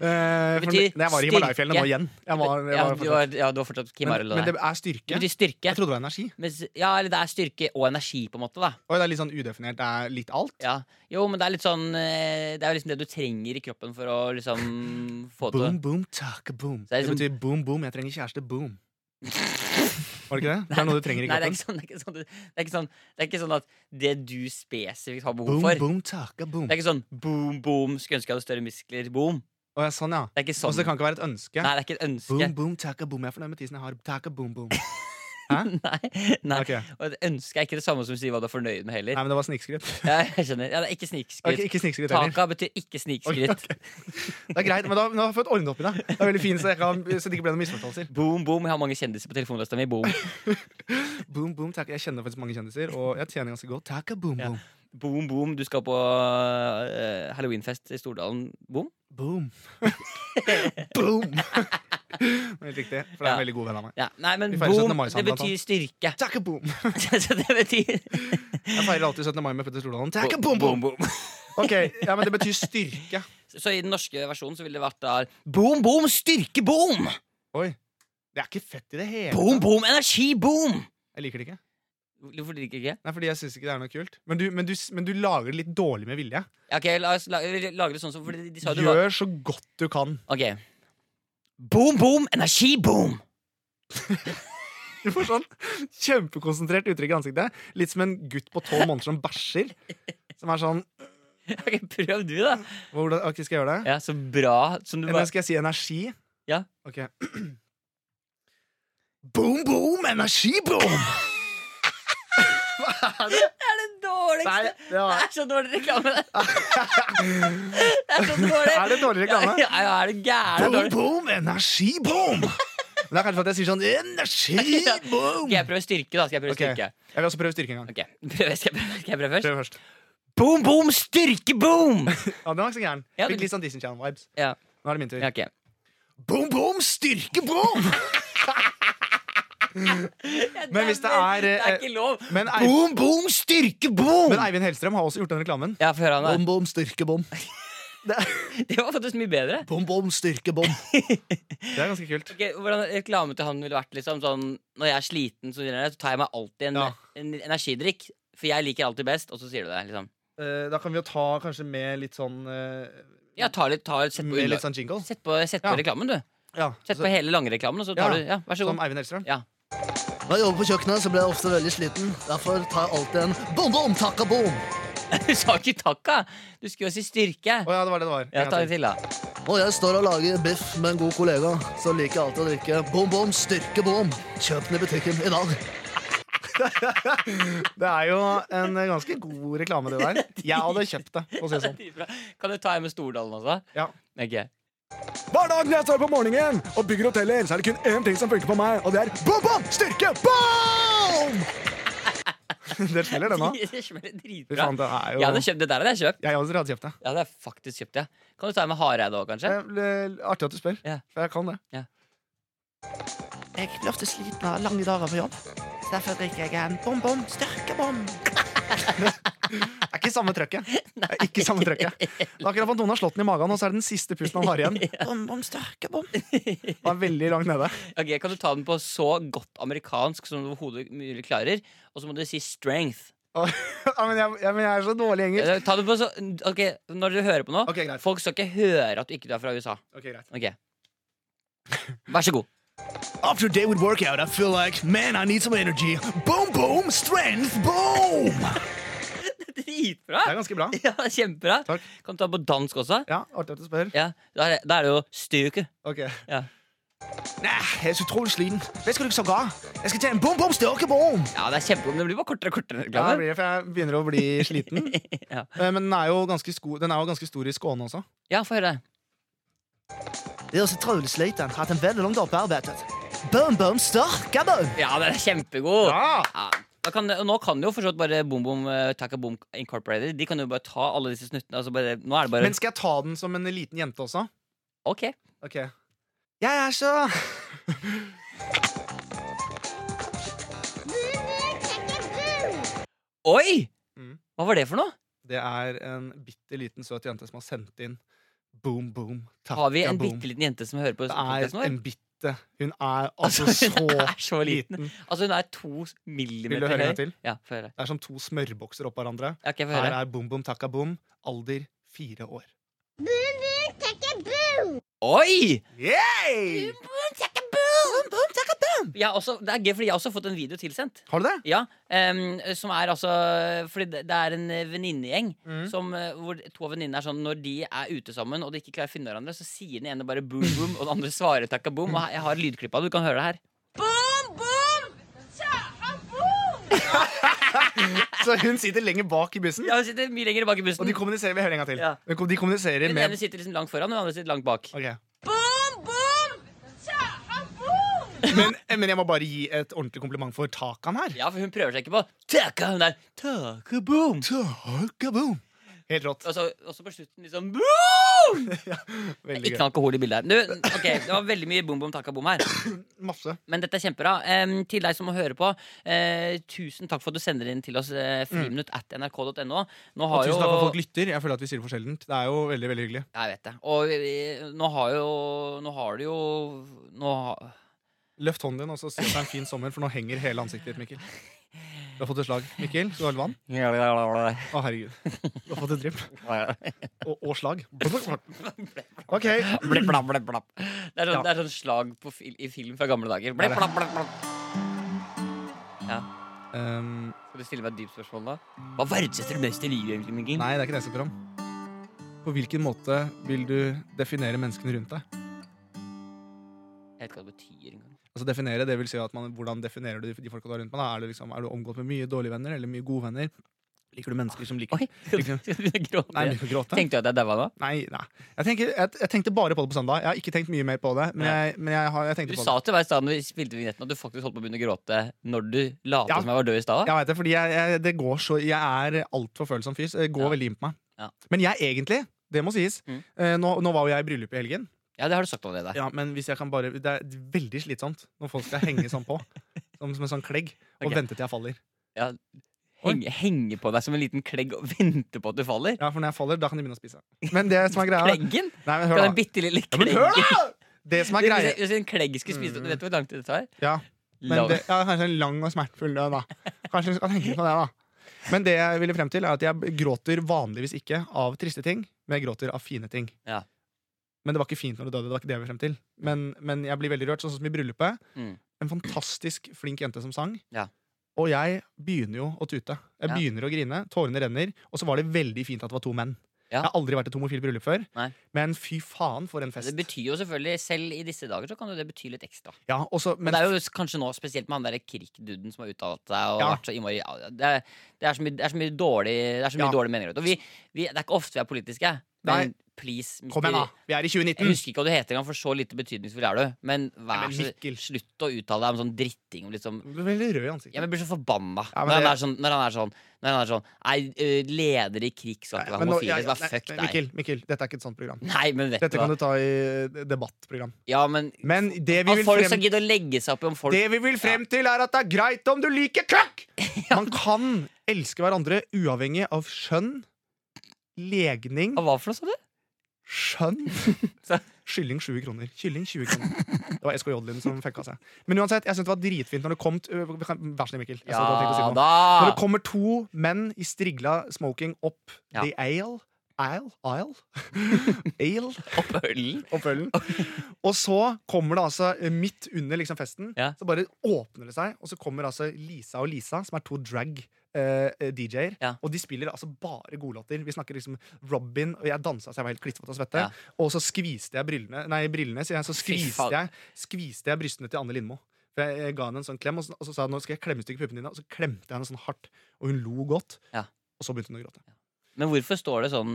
for,
betyr
nei, jeg var i Himalaya-fjellene nå
styrke.
igjen. Jeg var, jeg
ja,
var
du,
fortsatt-
har, ja, du har fortsatt Kim
men,
Arild og
men
deg.
det er styrke.
Det betyr
Jeg
styrke.
trodde det var energi.
Mens, ja, eller det er styrke og energi, på en måte. da
Oi, det er litt sånn udefinert. Det er litt alt.
ja. Jo, men det er litt sånn eh, Det er jo liksom det du trenger i kroppen for å liksom få til
Boom, boom, taka, boom.
Så det
Det,
er liksom-
betyr boom, boom, jeg trenger kjæreste, boom. Var det ikke det? Det er noe du trenger i
Nei, det er
kroppen.
ikke sånn Det er ikke sånn, du- det er ikke sånn, det er ikke sånn at det du spesifikt har behov
Boom,
for
boom, taka, boom.
Det er ikke sånn boom, boom, skulle ønske jeg hadde større muskler, boom.
Å, ja, sånn, ja.
Det er ikke
Og
sånn.
så det kan ikke være et ønske.
Nei, det er ikke et ønske.
Boom, boom, taka, boom. Jeg er fornøyd med tisen jeg har. Taka, boom, boom.
nei, nei.
Ok.
Og et ønske er ikke det samme som å si hva du er fornøyd med, heller.
Nei, men det var snikskryt.
Ja, jeg skjønner. Ja, det er ikke
Ok,
snikskritt.
ikke snikskryt heller.
Taka betyr ikke snikskritt.
Ok, Det er greit, men da, nå har jeg fått ordnet opp i det. Det er veldig fint, så, jeg kan, så det ikke ble noen misforståelser.
Boom, boom. Jeg har mange kjendiser på telefonlista mi. Boom.
Boom, boom, takk. Jeg kjenner faktisk mange kjendiser, og jeg tjener ganske godt. Takk, boom,
Ja.
boom.
Boom, boom, du skal på eh, halloweenfest i Stordalen. Boom.
Boom. boom. Helt riktig, for det er en
Ja.
veldig god venn av meg.
Ja, nei, men
Vi feirer 17.
boom,
mai
det
sammen, blant
betyr styrke.
Takk, boom.
Så det betyr
Jeg feirer alltid 17. mai med Petter Stordalen. Takk, boom, boom. Ok, ja, men det betyr styrke.
Så i den norske versjonen så ville det vært da boom, boom, styrke, boom!
Oi. Det er ikke fett i det hele.
Boom, boom, energi, boom!
Jeg liker det ikke.
Hvorfor liker du ikke?
Nei, fordi jeg synes ikke det er noe kult. Men du, men du, men du lager det litt dårlig med vilje.
Ja, Ok, la oss la- vi lager det sånn som fordi de, de sa jo det var
Gjør så godt du kan.
Ok. Boom, boom, energi, boom!
Du får sånn kjempekonsentrert uttrykk i ansiktet. Litt som en gutt på tolv måneder som bæsjer. Som er sånn
Ok, Prøv du, da.
hvordan, Ok, skal jeg gjøre det?
Ja, Så bra som du
Eller
var.
skal jeg si energi?
Ja.
Ok. Boom, boom, energiboom!
Det er det dårligste!
det
Det
var
er så dårlig reklame. det. Det er så dårlig.
Er det dårlig reklame?
Ja, ja, er det gæren
Boom,
dårlig?
boom, energiboom! Men det er kanskje for at jeg sier sånn energiboom!
Skal jeg prøve styrke, da? Skal jeg prøve
Ok.
styrke?
Jeg vil også prøve styrke en gang.
Ok, prøve, skal, jeg prøve, skal jeg prøve først?
Prøv først.
Boom, boom, styrke, boom!
Ja, den var ikke så gæren.
Ja,
Fikk
det-
litt sånn Disney Channel-vibes.
Ja,
Nå er det min tur.
ja, ok
Boom, boom, styrkeboom! Men hvis det er,
Det
eh,
er ikke lov!
Men, Ei-
Boom, boom, styrke, boom!
men Eivind Hellstrøm har også gjort den reklamen.
Ja, få høre han da.
bom, styrkebom.
Det var faktisk mye bedre.
Bom, bom, styrkebom. Det er ganske kult.
Ok, hvordan reklame til han ville vært liksom sånn Når jeg er sliten, så, så tar jeg meg alltid en,
Ja.
en energidrikk. For jeg liker alltid best, og så sier du det. liksom
Eh, da kan vi jo ta kanskje med litt sånn eh,
Ja, ta litt, ta, sett på,
Med litt sånn jingle.
sett på, sett på
Ja.
reklamen, du.
Ja,
Sett på hele langreklamen, og så
Ja.
tar du Ja, vær så
Som
god.
Eivind Hellstrøm.
Ja.
Når jeg jobber på kjøkkenet, så blir jeg ofte veldig sliten. Derfor tar jeg alltid en bom-bom, takka-bom.
Du sa ikke takka! Du skulle jo si styrke.
Å ja, det var det det var.
Ja,
En
ta
gang
en
til.
til, da.
Når jeg står og lager biff med en god kollega, så liker jeg alltid å drikke bom-bom, styrke-bom. Kjøp den i butikken i dag.
Det er jo en ganske god reklame, det der. Jeg hadde kjøpt det, for å si det sånn.
Bra. Kan du ta en med Stordalen også?
Ja.
Ok.
Hver dag når jeg står på morgenen og bygger hoteller, så er det kun én ting som funker på meg, og det er bom, bom, styrke, bom! Dere spiller den nå?
Det smeller
Fy
dritbra.
faen, det er jo
Jeg hadde kjøpt det der. hadde jeg kjøpt.
Jeg også hadde kjøpt det.
Ja, det hadde jeg faktisk kjøpt, ja. Kan du ta en med Hareide òg, kanskje?
Det er Eh, l- Artig at du spør,
Ja.
for jeg kan det.
Jeg blir ofte sliten av lange dager på jobb. Så derfor drikker jeg en bom-bom, styrke-bom.
Det er ikke samme trøkket. Det er ikke samme trøkket. Det er akkurat som at noen har slått den i magen, og så er det den siste pusten han har igjen.
Bom-bom, styrke-bom.
Han er veldig langt nede.
Ok, Kan du ta den på så godt amerikansk som du overhodet mulig klarer? Og så må du si strength.
Og, ja, men, jeg, ja, men jeg er så dårlig i engelsk.
Eh, Ta den på så, ok, Når du hører på nå
Ok, greit.
Folk skal ikke høre at du ikke er fra USA.
Ok, greit.
Ok Vær så god.
After a day with workout, I feel like, man, I need some energy. Boom-boom, strength, boom!
dritbra!
Det er ganske bra.
Ja, kjempebra.
Takk.
Kan du ta på dansk også?
Ja, artig at du spør.
Ja, Da er det, da er det jo styrke.
Ok.
Ja.
Nei, jeg er så utrolig sliten. Hva skal du så ga? Jeg skal ta en bom, bom, styrke, bom!
ja, det er kjempebra, men det blir bare kortere og
Ja,
kortere.
det
reklame.
blir det, for jeg begynner å bli sliten.
Ja,
Eh, Men den er jo ganske, sko den er jo ganske stor i Skåne også.
ja få høre.
Jeg er så utrolig sliten. Hatt en veldig lang dag på arbeidet. Bom, bom, styrke, bom!
Ja, den er kjempegod!
Ja!
Ja. Da kan, og nå kan jo for så vidt bare Boom Boom eh, Taka Boom Incorporated De kan jo bare ta alle disse snuttene. Altså bare, nå er det bare
Men skal jeg ta den som en liten jente også?
Ok.
Ok. Jeg er så
Oi!
Mm.
Hva var det for noe?
Det er en bitte liten søt jente som har sendt inn boom, boom, takka,
Har vi en
boom.
bitte liten jente som hører på
Det
podkasten
er
vår?
en bitte. Hun er
Altså,
altså,
hun
så
er så liten.
liten.
Altså, hun er to
Vil du
millimeter
høre
høy.
en gang til?
Ja, få høre.
Det er som to smørbokser oppå hverandre.
Ja, ok, få
Her
høre.
er boom, boom, takka, boom. Alder fire år.
Oi!
Yay!
Jeg har også, det er gøy, fordi jeg har også fått en video tilsendt.
Har du det?
Ja, em, som er altså Fordi det det er en eh, venninnegjeng
Mm.
som, eh, hvor to av venninnene er sånn når de er ute sammen og de ikke klarer å finne hverandre, så sier den ene bare boom boom, og den andre svarer takka boom. Og her- jeg har lydklipp av det, du kan høre det her.
Så hun sitter lenger bak i bussen,
Ja, hun sitter mye lenger bak i
og
bussen.
de kommuniserer vi hører en gang til.
Ja.
De kom- De kommuniserer
Den ene
med
sitter liksom langt foran, og den andre sitter langt bak.
Ok. Men, men jeg må bare gi et ordentlig kompliment for takan her.
Ja, for hun prøver seg ikke på takka. Hun er takka boom.
Taka, boom. Helt rått.
Og så, og så på slutten liksom boom!
Veldig
Ikke noe
gøy.
alkohol i bildet her. Du, ok, Det var veldig mye boom boom takka boom her.
Masse.
Men dette er kjempebra. Em, til deg som må høre på, eh, tusen takk for at du sender inn til oss eh, friminutt at nrk.no. Nå
Og
har
tusen
jo
takk for at folk lytter. Jeg føler at vi sier det for sjeldent. Det er jo veldig, veldig hyggelig.
Jeg vet det. Og eh, nå har jo Nå har du jo Nå har
Løft hånden din og så si at det er en fin sommer, for nå henger hele ansiktet ditt, Mikkel. Du har fått et slag. Mikkel, skal du ha litt vann? Å, herregud. Du har fått et drypp. Og, og slag. OK.
Blipp, blapp, blipp, blapp. Det er sånn, det er sånn slag på fil, i film fra gamle dager. Blipp, blapp, blapp, blapp.
Um,
Skal du stille meg et dypt spørsmål, da? Hva verdsetter du mest i livet, egentlig, Mikkel?
nei, det er ikke det jeg skal spørre om. På hvilken måte vil du definere menneskene rundt deg?
Jeg vet ikke hva det betyr engang.
Altså definere, det vil si at man, Hvordan definerer du de de folka du har rundt deg? da? Er du, liksom, er du omgått med mye dårlige venner eller mye gode venner? Liker du mennesker som liker
Oi, skal du skal du begynne å gråte?
Nei, jeg begynner å gråte.
Tenkte du at jeg daua nå?
Nei, nei. Jeg, tenker, jeg, jeg tenkte bare på det på søndag. Jeg har ikke tenkt mye mer på det. Men
Nei.
jeg, men jeg, har, jeg
Du
tenkte på
sa
det.
til meg i stad når vi spilte vignetten at du faktisk holdt på å begynne å gråte når du lot
Ja.
som jeg var død i stad.
Jeg vet det, fordi jeg, jeg, det går så, jeg er altfor følsom fyr. så Det går
Ja.
veldig inn på meg.
Ja.
Men jeg egentlig, det må sies
Mm.
eh, nå, nå var jo jeg i bryllup i helgen.
Ja, det har du sagt allerede.
Ja, men hvis jeg kan bare Det er veldig slitsomt når folk skal henge sånn på. Som, som en sånn klegg. Og
Ok.
vente til jeg faller.
Ja. Henge, henge på deg som en liten klegg og vente på at du faller.
Ja, For når jeg faller, da kan de begynne å spise. Men det som er greia
Kleggen?
Nei, men
Kan
hør
den
da.
bitte lille
Ja, men
kleggen
hør da! Det som er
Hvis-
greia
Hvis en klegg skulle spise deg, vet du hvor lang tid det tar?
Ja, men
Lang-
det, ja, kanskje en lang og smertefull død, da. Kanskje vi skal tenke på det, da. Men det jeg ville frem til, er at jeg gråter vanligvis ikke av triste ting, men jeg gråter av fine ting.
Ja.
Men det var ikke fint når du døde. det var ikke det jeg ville frem til. Men, men jeg blir veldig rørt, sånn som i bryllupet.
Mm.
En fantastisk flink jente som sang.
Ja.
Og jeg begynner jo å tute. Jeg
Ja.
begynner å grine, tårene renner. Og så var det veldig fint at det var to menn.
Ja.
Jeg har aldri vært i et homofilt bryllup før,
Nei.
men fy faen for en fest.
Det betyr jo selvfølgelig, selv i disse dager, så kan jo det bety litt ekstra.
Ja, også, men
Men det er jo s- kanskje nå spesielt med han derre Krik-duden som har uttalt seg og
Ja.
vært så innmari ja, det, er- det er så mye, det er så mye dårlig Det er så mye
Ja.
dårlig meninger. ute. Og vi, vi, det er ikke ofte vi er politiske, men
Nei.
please
Kom igjen, da! Vi er i
Jeg
2019!
husker ikke hva du heter engang, for så lite betydningsfull er du. Men
Nei,
vær
men
så
Mikkel.
slutt å uttale deg om sånn dritting om liksom
Du blir veldig rød i ansiktet.
ja, men Jeg blir så forbanna
Ja, men
når, han
det-
er sånn, når han er sånn Når han er sånn Nei, ø, ledere i krig skal ikke
Nei,
være
men nå-
homofile.
ja, ja,
så bare
nei,
fuck
nei,
deg.
Mikkel, Mikkel, dette er ikke et sånt program.
Nei, men vet
Dette
du hva.
kan du ta i eh, debattprogram.
Ja, men,
Men det vi,
At
vil
folk skal
frem,
gidde å legge seg opp i om folk
det vi vil frem til, er at det er greit om du liker køkk! Man kan elske hverandre uavhengig av skjønn, legning,
Hva var det for noe, sa du?
skjønn
Så-
Kylling 20 kroner. Kylling 20 kroner. Det var SKJ-lyden som fucka seg. Men uansett, jeg syns det var dritfint når det kom t- øh, Vær så snill, Mikkel. Jeg sa
Ja
hva jeg tenkte å si nå.
da!
Når det kommer to menn i strigla smoking opp
Ja.
the ale Isle? Isle? ale?
Opp ølen.
og følgen. Og så kommer det altså eh, midt under liksom festen,
Ja.
så bare åpner det seg, og så kommer altså Lisa og Lisa, som er to drag eh, eh, eh, DJ-er,
Ja.
og de spiller altså bare godlåter. Vi snakker liksom Robin, og jeg dansa så jeg var helt klissvåt av svette.
Ja.
Og så skviste jeg brillene Nei, brillene, sier jeg. Så skviste
faen.
jeg, skviste jeg brystene til Anne Lindmo. For jeg, jeg ga henne en sånn klem, og så, og så sa jeg nå skal jeg klemme et stykke puppene dine. Og så klemte jeg henne sånn hardt, og hun lo godt.
Ja.
Og så begynte hun å gråte.
Men hvorfor står det sånn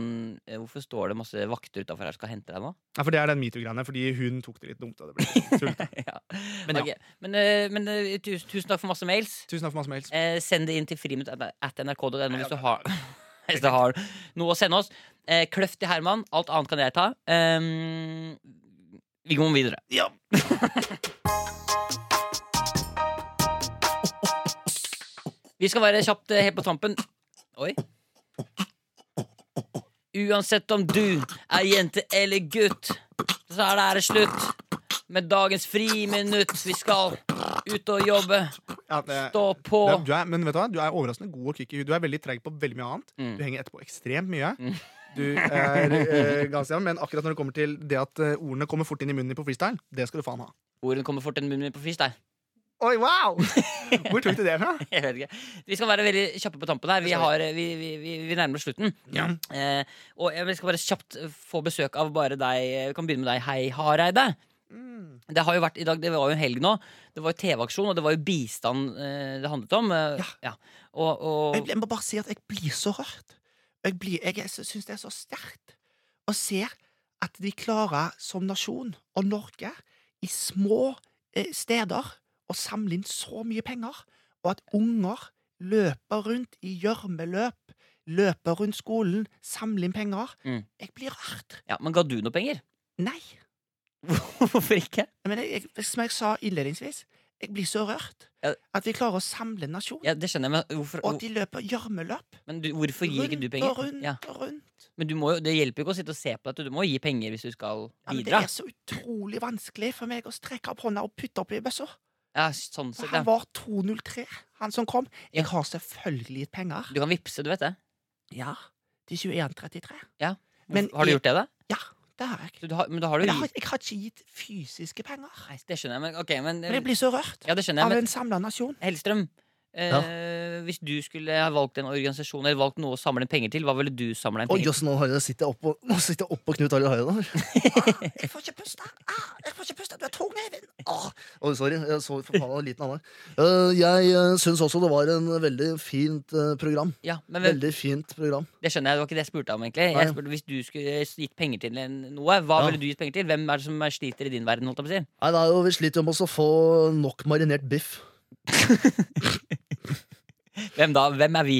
eh, Hvorfor står det masse vakter utafor her og skal hente deg nå?
Nei, for det er den metoo-greiene, fordi hun tok det litt dumt. Og det ble litt tull.
ja.
Men ja.
Ok, men, eh, men, eh, tusen, tusen takk for masse mails.
Tusen takk for masse mails.
Eh, send det inn til friminutt.nrk.no hvis du har Hvis du har noe å sende oss. Eh, Kløft til Herman. Alt annet kan jeg ta. Um, vi går videre. Vi skal være kjapt eh, helt på tampen. Oi. Uansett om du er jente eller gutt, så er det her slutt med dagens friminutt. Vi skal ut og jobbe.
Ja, det-
Stå på.
Ja, du er, men vet du hva, du er overraskende god og kvikk i huet. Du er veldig treig på veldig mye annet.
Mm.
Du henger etterpå ekstremt mye. Du er eh, ganske jevn, men akkurat når det kommer til det at eh, ordene kommer fort inn i munnen din på freestyle, det skal du faen ha.
Ordene kommer fort inn i munnen min på freestyle.
Oi, wow! Hvor tok du det fra?
Jeg vet ikke. Vi skal være veldig kjappe på tampen her. Vi, har, eh, vi, vi, vi, vi nærmer oss slutten.
Ja.
Eh, og jeg skal bare kjapt eh, få besøk av bare deg. eh, Vi kan begynne med deg, Hei Hareide.
Mm.
Det har jo vært i dag, det var jo en helg nå. Det var jo TV-aksjon, og det var jo bistand eh, det handlet om. eh, ja. Og, og
må bare si at jeg blir så rørt. Jeg, blir, jeg syns det er så sterkt å se at de klarer som nasjon og Norge i små eh, steder å samle inn så mye penger, og at unger løper rundt i gjørmeløp, løper rundt skolen, samler inn penger.
Mm.
Jeg blir rørt.
ja, Men ga du noe penger?
Nei.
Hvorfor ikke?
Men jeg, jeg, som jeg sa innledningsvis, jeg blir så rørt
Ja.
at vi klarer å samle en nasjon,
Ja, Det skjønner jeg, men hvorfor,
og at de løper gjørmeløp.
men du, hvorfor gir ikke du
Rundt og
penger?
rundt
Ja.
og rundt.
Men du må jo, det hjelper jo ikke å sitte og se på dette. Du må jo gi penger hvis du skal
Ja, men det
bidra.
er så utrolig vanskelig for meg å strekke opp hånda og putte opp i bøssa.
Ja, sånn
For
sett,
Han
ja.
var 203, han som kom. Jeg har selvfølgelig gitt penger.
Du kan vippse, du vet det.
Ja, til 2133. Men
Men, har du
jeg-
gjort det, da?
Ja, det har jeg.
Du, du har, men da har du
Men jeg
gi-
har, jeg har ikke gitt fysiske penger.
Nei, det skjønner jeg, men, ok, men,
Men jeg blir så rørt
ja, det skjønner jeg,
av
men
en samla nasjon.
Hellstrøm, eh, hvis du skulle ha valgt en organisasjon eller valgt noe å samle inn penger til, hva ville du samle inn
Å,
penger til?
jøss, nå har jeg- sitter jeg oppå opp på Knut Arild Hareide.
Jeg får ikke puste! Ah, jeg får ikke puste! Du er tung, Eivind!
Ah, å, sorry, jeg så forbanna liten av meg. Eh, jeg uh, syns også det var en veldig fint eh, program.
Ja, men vel,
Veldig fint program.
Det skjønner jeg, det var ikke det jeg spurte om, egentlig.
Nei.
Jeg spurte, hvis du skulle gitt penger til en- noe, hva
Ja.
ville du gitt penger til? Hvem er det som sliter i din verden, holdt jeg på å si?
Nei, det er jo, Vi sliter jo med å få nok marinert biff.
Hvem da? Hvem er vi?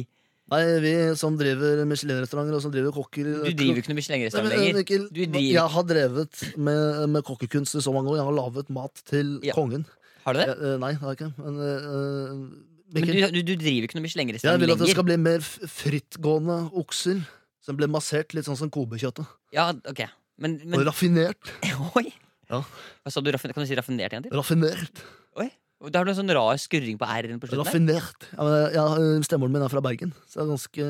Nei, vi som driver Michelin-restauranter og som driver kokker eh,
Du driver jo ikke noe Michelin-restaurant
Nei, men,
lenger.
Mikkel,
Du driver-
Jeg har drevet med, med kokkekunst i så mange år. Jeg har laget mat til
Ja.
kongen.
Har du det?
Jeg, eh, nei, det har jeg ikke. Men, eh,
Men
Mikkel,
du, du, du driver ikke noe
jeg
Michelin-restaurant
vil at det
lenger?
skal bli mer f- frittgående okser. Som ble massert litt sånn som kobekjøttet.
Ja, ok. Men,
Og
men
raffinert.
Oi!
Ja.
Hva sa du? raffin- Kan du si raffinert en gang til?
Raffinert.
Oi! Da har du en sånn rar skurring på r-en på slutten. der.
Raffinert. Ja, men, jeg- jeg- Stemoren min er fra Bergen, så jeg, er ganske,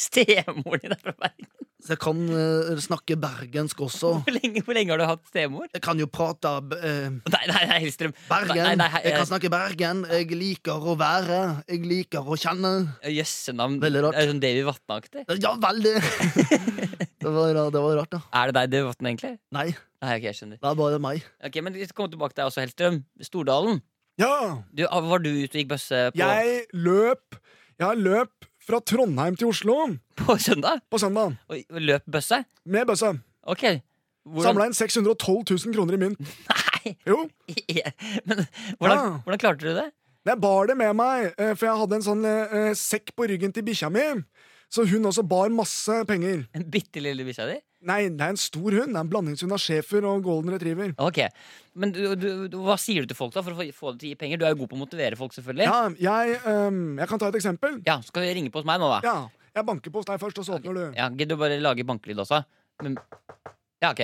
Stemoren din er fra Bergen.
så jeg kan eh, snakke bergensk også.
Hvor lenge, hvor lenge har du hatt stemor?
Jeg kan jo prate eh,
Nei, nei, nei, Hellstrøm.
Bergen.
Nei, nei, hei,
jeg
eh,
kan snakke Bergen. Jeg liker å være. Jeg liker å kjenne.
Jøssenavn.
Veldig rart.
eh, Det er Sånn David Vatne-aktig.
Ja, veldig! det, var, det var rart, da.
Er det deg, David Vatne, egentlig?
Nei,
Nei, ok, jeg skjønner.
det er bare meg.
Ok, Men vi skal komme tilbake til deg også, Hellstrøm. Stordalen.
Ja,
Du, ah, var du ute og gikk bøsse på,
jeg løp Jeg løp fra Trondheim til Oslo
på søndag?
på søndag
Og og løp bøsse?
med bøsse.
Ok. Hvordan,
Samla inn 612 000 kroner i mynt.
Nei!
Jo.
Men hvordan,
Ja.
hvordan klarte du det?
Jeg bar det med meg, eh, for jeg hadde en sånn eh, eh, sekk på ryggen til bikkja mi. Så hun også bar masse penger.
En bitte lille bikkja di?
Nei, det er en stor hund. Det er En blandingshund av schæfer og golden retriever.
Ok. Men du, du, du, hva sier du til folk da for å få- få dem til å gi penger? Du er jo god på å motivere folk, selvfølgelig.
Ja, jeg, ehm, jeg kan ta et eksempel.
Ja, så skal vi ringe på hos meg nå, da?
Ja, Jeg banker på hos deg først, og så åpner du.
Ja, Gidder du bare lage bankelyd også? Men, ja, ok.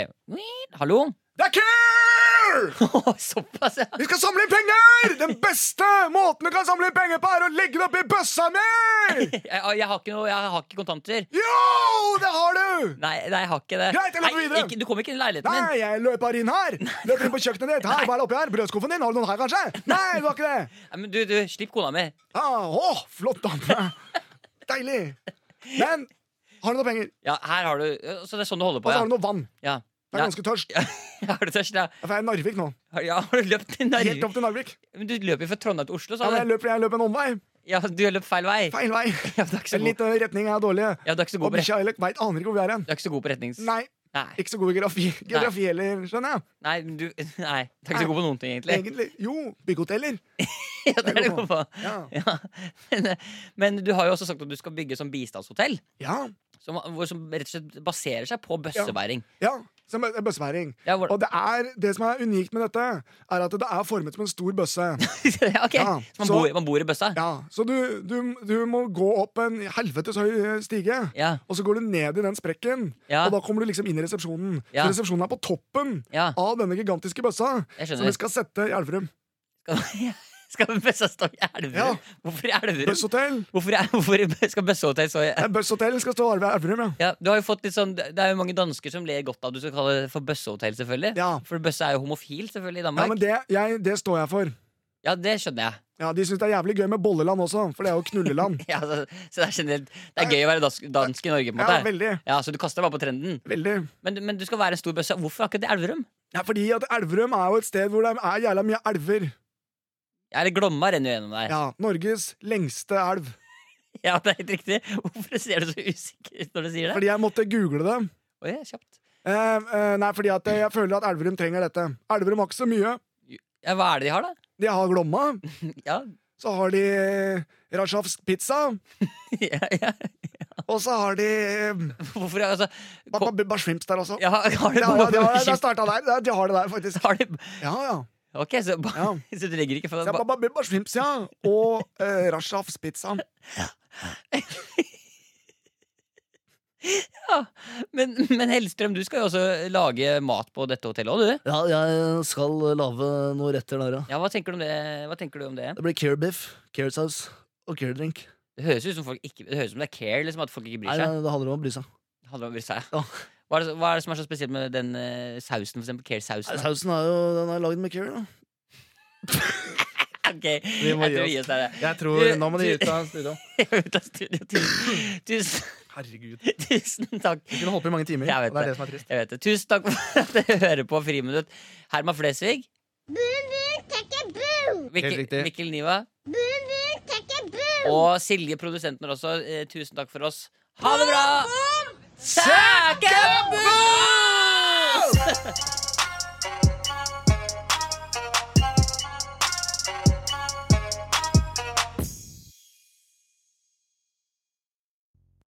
Hallo?
Det er kur! penger!
Såpass, ja.
Vi skal samle inn penger! Den beste måten du kan samle inn penger på, er å legge det oppi bøssa mi!
Jeg, jeg, har ikke noe, jeg har ikke kontanter.
Jo, det har du!
Nei, nei, jeg har ikke det.
Greit, jeg løper
Nei,
videre.
ikke, du kommer ikke inn i leiligheten
Nei,
min.
jeg løp bare inn her. Løp inn på kjøkkenet ditt. Her, hva er det oppi her? Brødskuffen din? Har du noen her, kanskje? Nei, du har ikke det.
Nei, men du, du, Slipp kona mi.
Ah, Å, flott dame. Deilig. Men har du noe penger?
Ja, her har du Så det er sånn du holder
Og
på,
så
ja.
har du noe vann.
ja.
Jeg er ganske tørst.
Ja, har du tørst, ja.
Jeg er i Narvik nå.
Har- ja, har du løpt til
Helt
Narvik?
opp til Narvik.
Men du løper jo fra Trondheim til Oslo,
Ja,
sa
men jeg
du.
løper, jeg løper en omvei.
Ja, du har løpt feil vei.
Feil vei.
Ja, du er ikke så
En
god,
litt eh, retning er dårlig.
ja, du er ikke
Og
så god, på, ret-
bikkja Elek veit aner ikke hvor vi er hen.
du er ikke så god på retnings...
Nei,
Nei.
ikke så god i geografi, geografi heller, skjønner jeg.
Nei, men du, nei, du er ikke
Nei.
så god på noen ting, egentlig.
Egentlig. Jo, bygghoteller.
Ja, det er du god på.
Ja.
Ja. Men, eh, men du har jo også sagt at du skal bygge sånn bistandshotell.
ja.
Som, hvor, som rett og slett baserer seg på bøssebæring.
ja. Som bø- bøssebæring.
Ja, hvor,
Og det, er, det som er unikt med dette, er at det er formet som en stor bøsse.
ja, ok,
Ja,
Så man,
så-
bor, man bor i bøssa?
Ja, Så du, du, du må gå opp en helvetes høy eh, stige,
Ja.
og så går du ned i den sprekken,
Ja.
og da kommer du liksom inn i resepsjonen.
Ja.
Så resepsjonen er på toppen
Ja.
av denne gigantiske bøssa,
Jeg
som vi
skjønner.
skal sette i Elverum.
Skal, skal bøssa stå i
Ja.
Elverum? Hvorfor i Elverum?
Bøsshotell!
Hvorfor, i- hvorfor skal bøssehotell stå i
Eh, Bøsshotell skal stå i Elverum, ja.
ja, du har jo fått litt sånn, Det er jo mange dansker som ler godt av at du skal kalle det for bøssehotell, selvfølgelig.
Ja.
For bøsse er jo homofil, selvfølgelig,
ja
i Danmark.
men det, jeg, det står jeg for.
Ja, det skjønner jeg.
Ja, De syns det er jævlig gøy med bolleland også, for det er jo knulleland.
Ja, så, så det er generelt Det er gøy å være dansk, dansk i Norge, på en
Ja,
måte.
veldig.
Ja, Så du kaster deg bare på trenden.
veldig
Men, men du skal være en stor bøsse. Hvorfor akkurat i Elverum?
Ja, Fordi at Elverum er jo et sted hvor det er jævla mye elver.
Ja, Eller Glomma renner jo gjennom der. Ja.
Ja, Norges lengste elv.
det er helt riktig. Hvorfor ser du så usikker ut når du sier det?
Fordi jeg måtte google det.
Oi, kjapt.
Eh, eh, nei, fordi at jeg føler at Elverum trenger dette. Elverum har ikke så mye.
Ja, Hva er det de har, da?
De har Glomma,
Ja,
så har de eh, Rajavsk pizza,
ja, ja.
og så har de eh,
Hvorfor altså,
Ba- Ba- Barsvimps der også.
ja, Har de
Ja, ja, de har, det starta der. Det- De har det der, faktisk.
Har de
Ja, ja.
Ok, så, ba-
Ja.
så du legger ikke for
Så jeg ba- ba- ba- Barsvimps, ja. Og eh, Rajavs pizza.
men, men Hellstrøm, du skal jo også lage mat på dette hotellet òg, du.
Ja, jeg skal lage noen retter der, ja.
Ja, hva tenker, du om det? hva tenker du om det?
Det blir care biff, care sauce og care drink.
Det høres ut som folk ikke Det høres ut som det er care, liksom, at folk ikke
Nei,
bryr
nei,
seg.
det handler om å bry seg.
Det handler om å bry seg.
Ja.
Hva er, det, hva er det som er så spesielt med den eh, sausen, for eksempel?
Nei,
Care-sausen?
Sausen er jo den er lagd med care. da
Ok, jeg
må gi oss.
tror vi gir oss der.
Jeg
tror- nå må de ut
av studio.
Jeg er ute av studio. Tusen, tusen,
Herregud.
tusen takk.
Vi kunne holdt på i mange timer.
Jeg
og
vet
det er
det.
det som er trist.
Jeg vet det. Tusen takk for at dere hører på Friminutt. Herman Flesvig. Mikkel,
Helt riktig.
Mikkel Niva. Og Silje, produsenten vår også. Eh, tusen takk for oss. Ha det bra! Sækebu!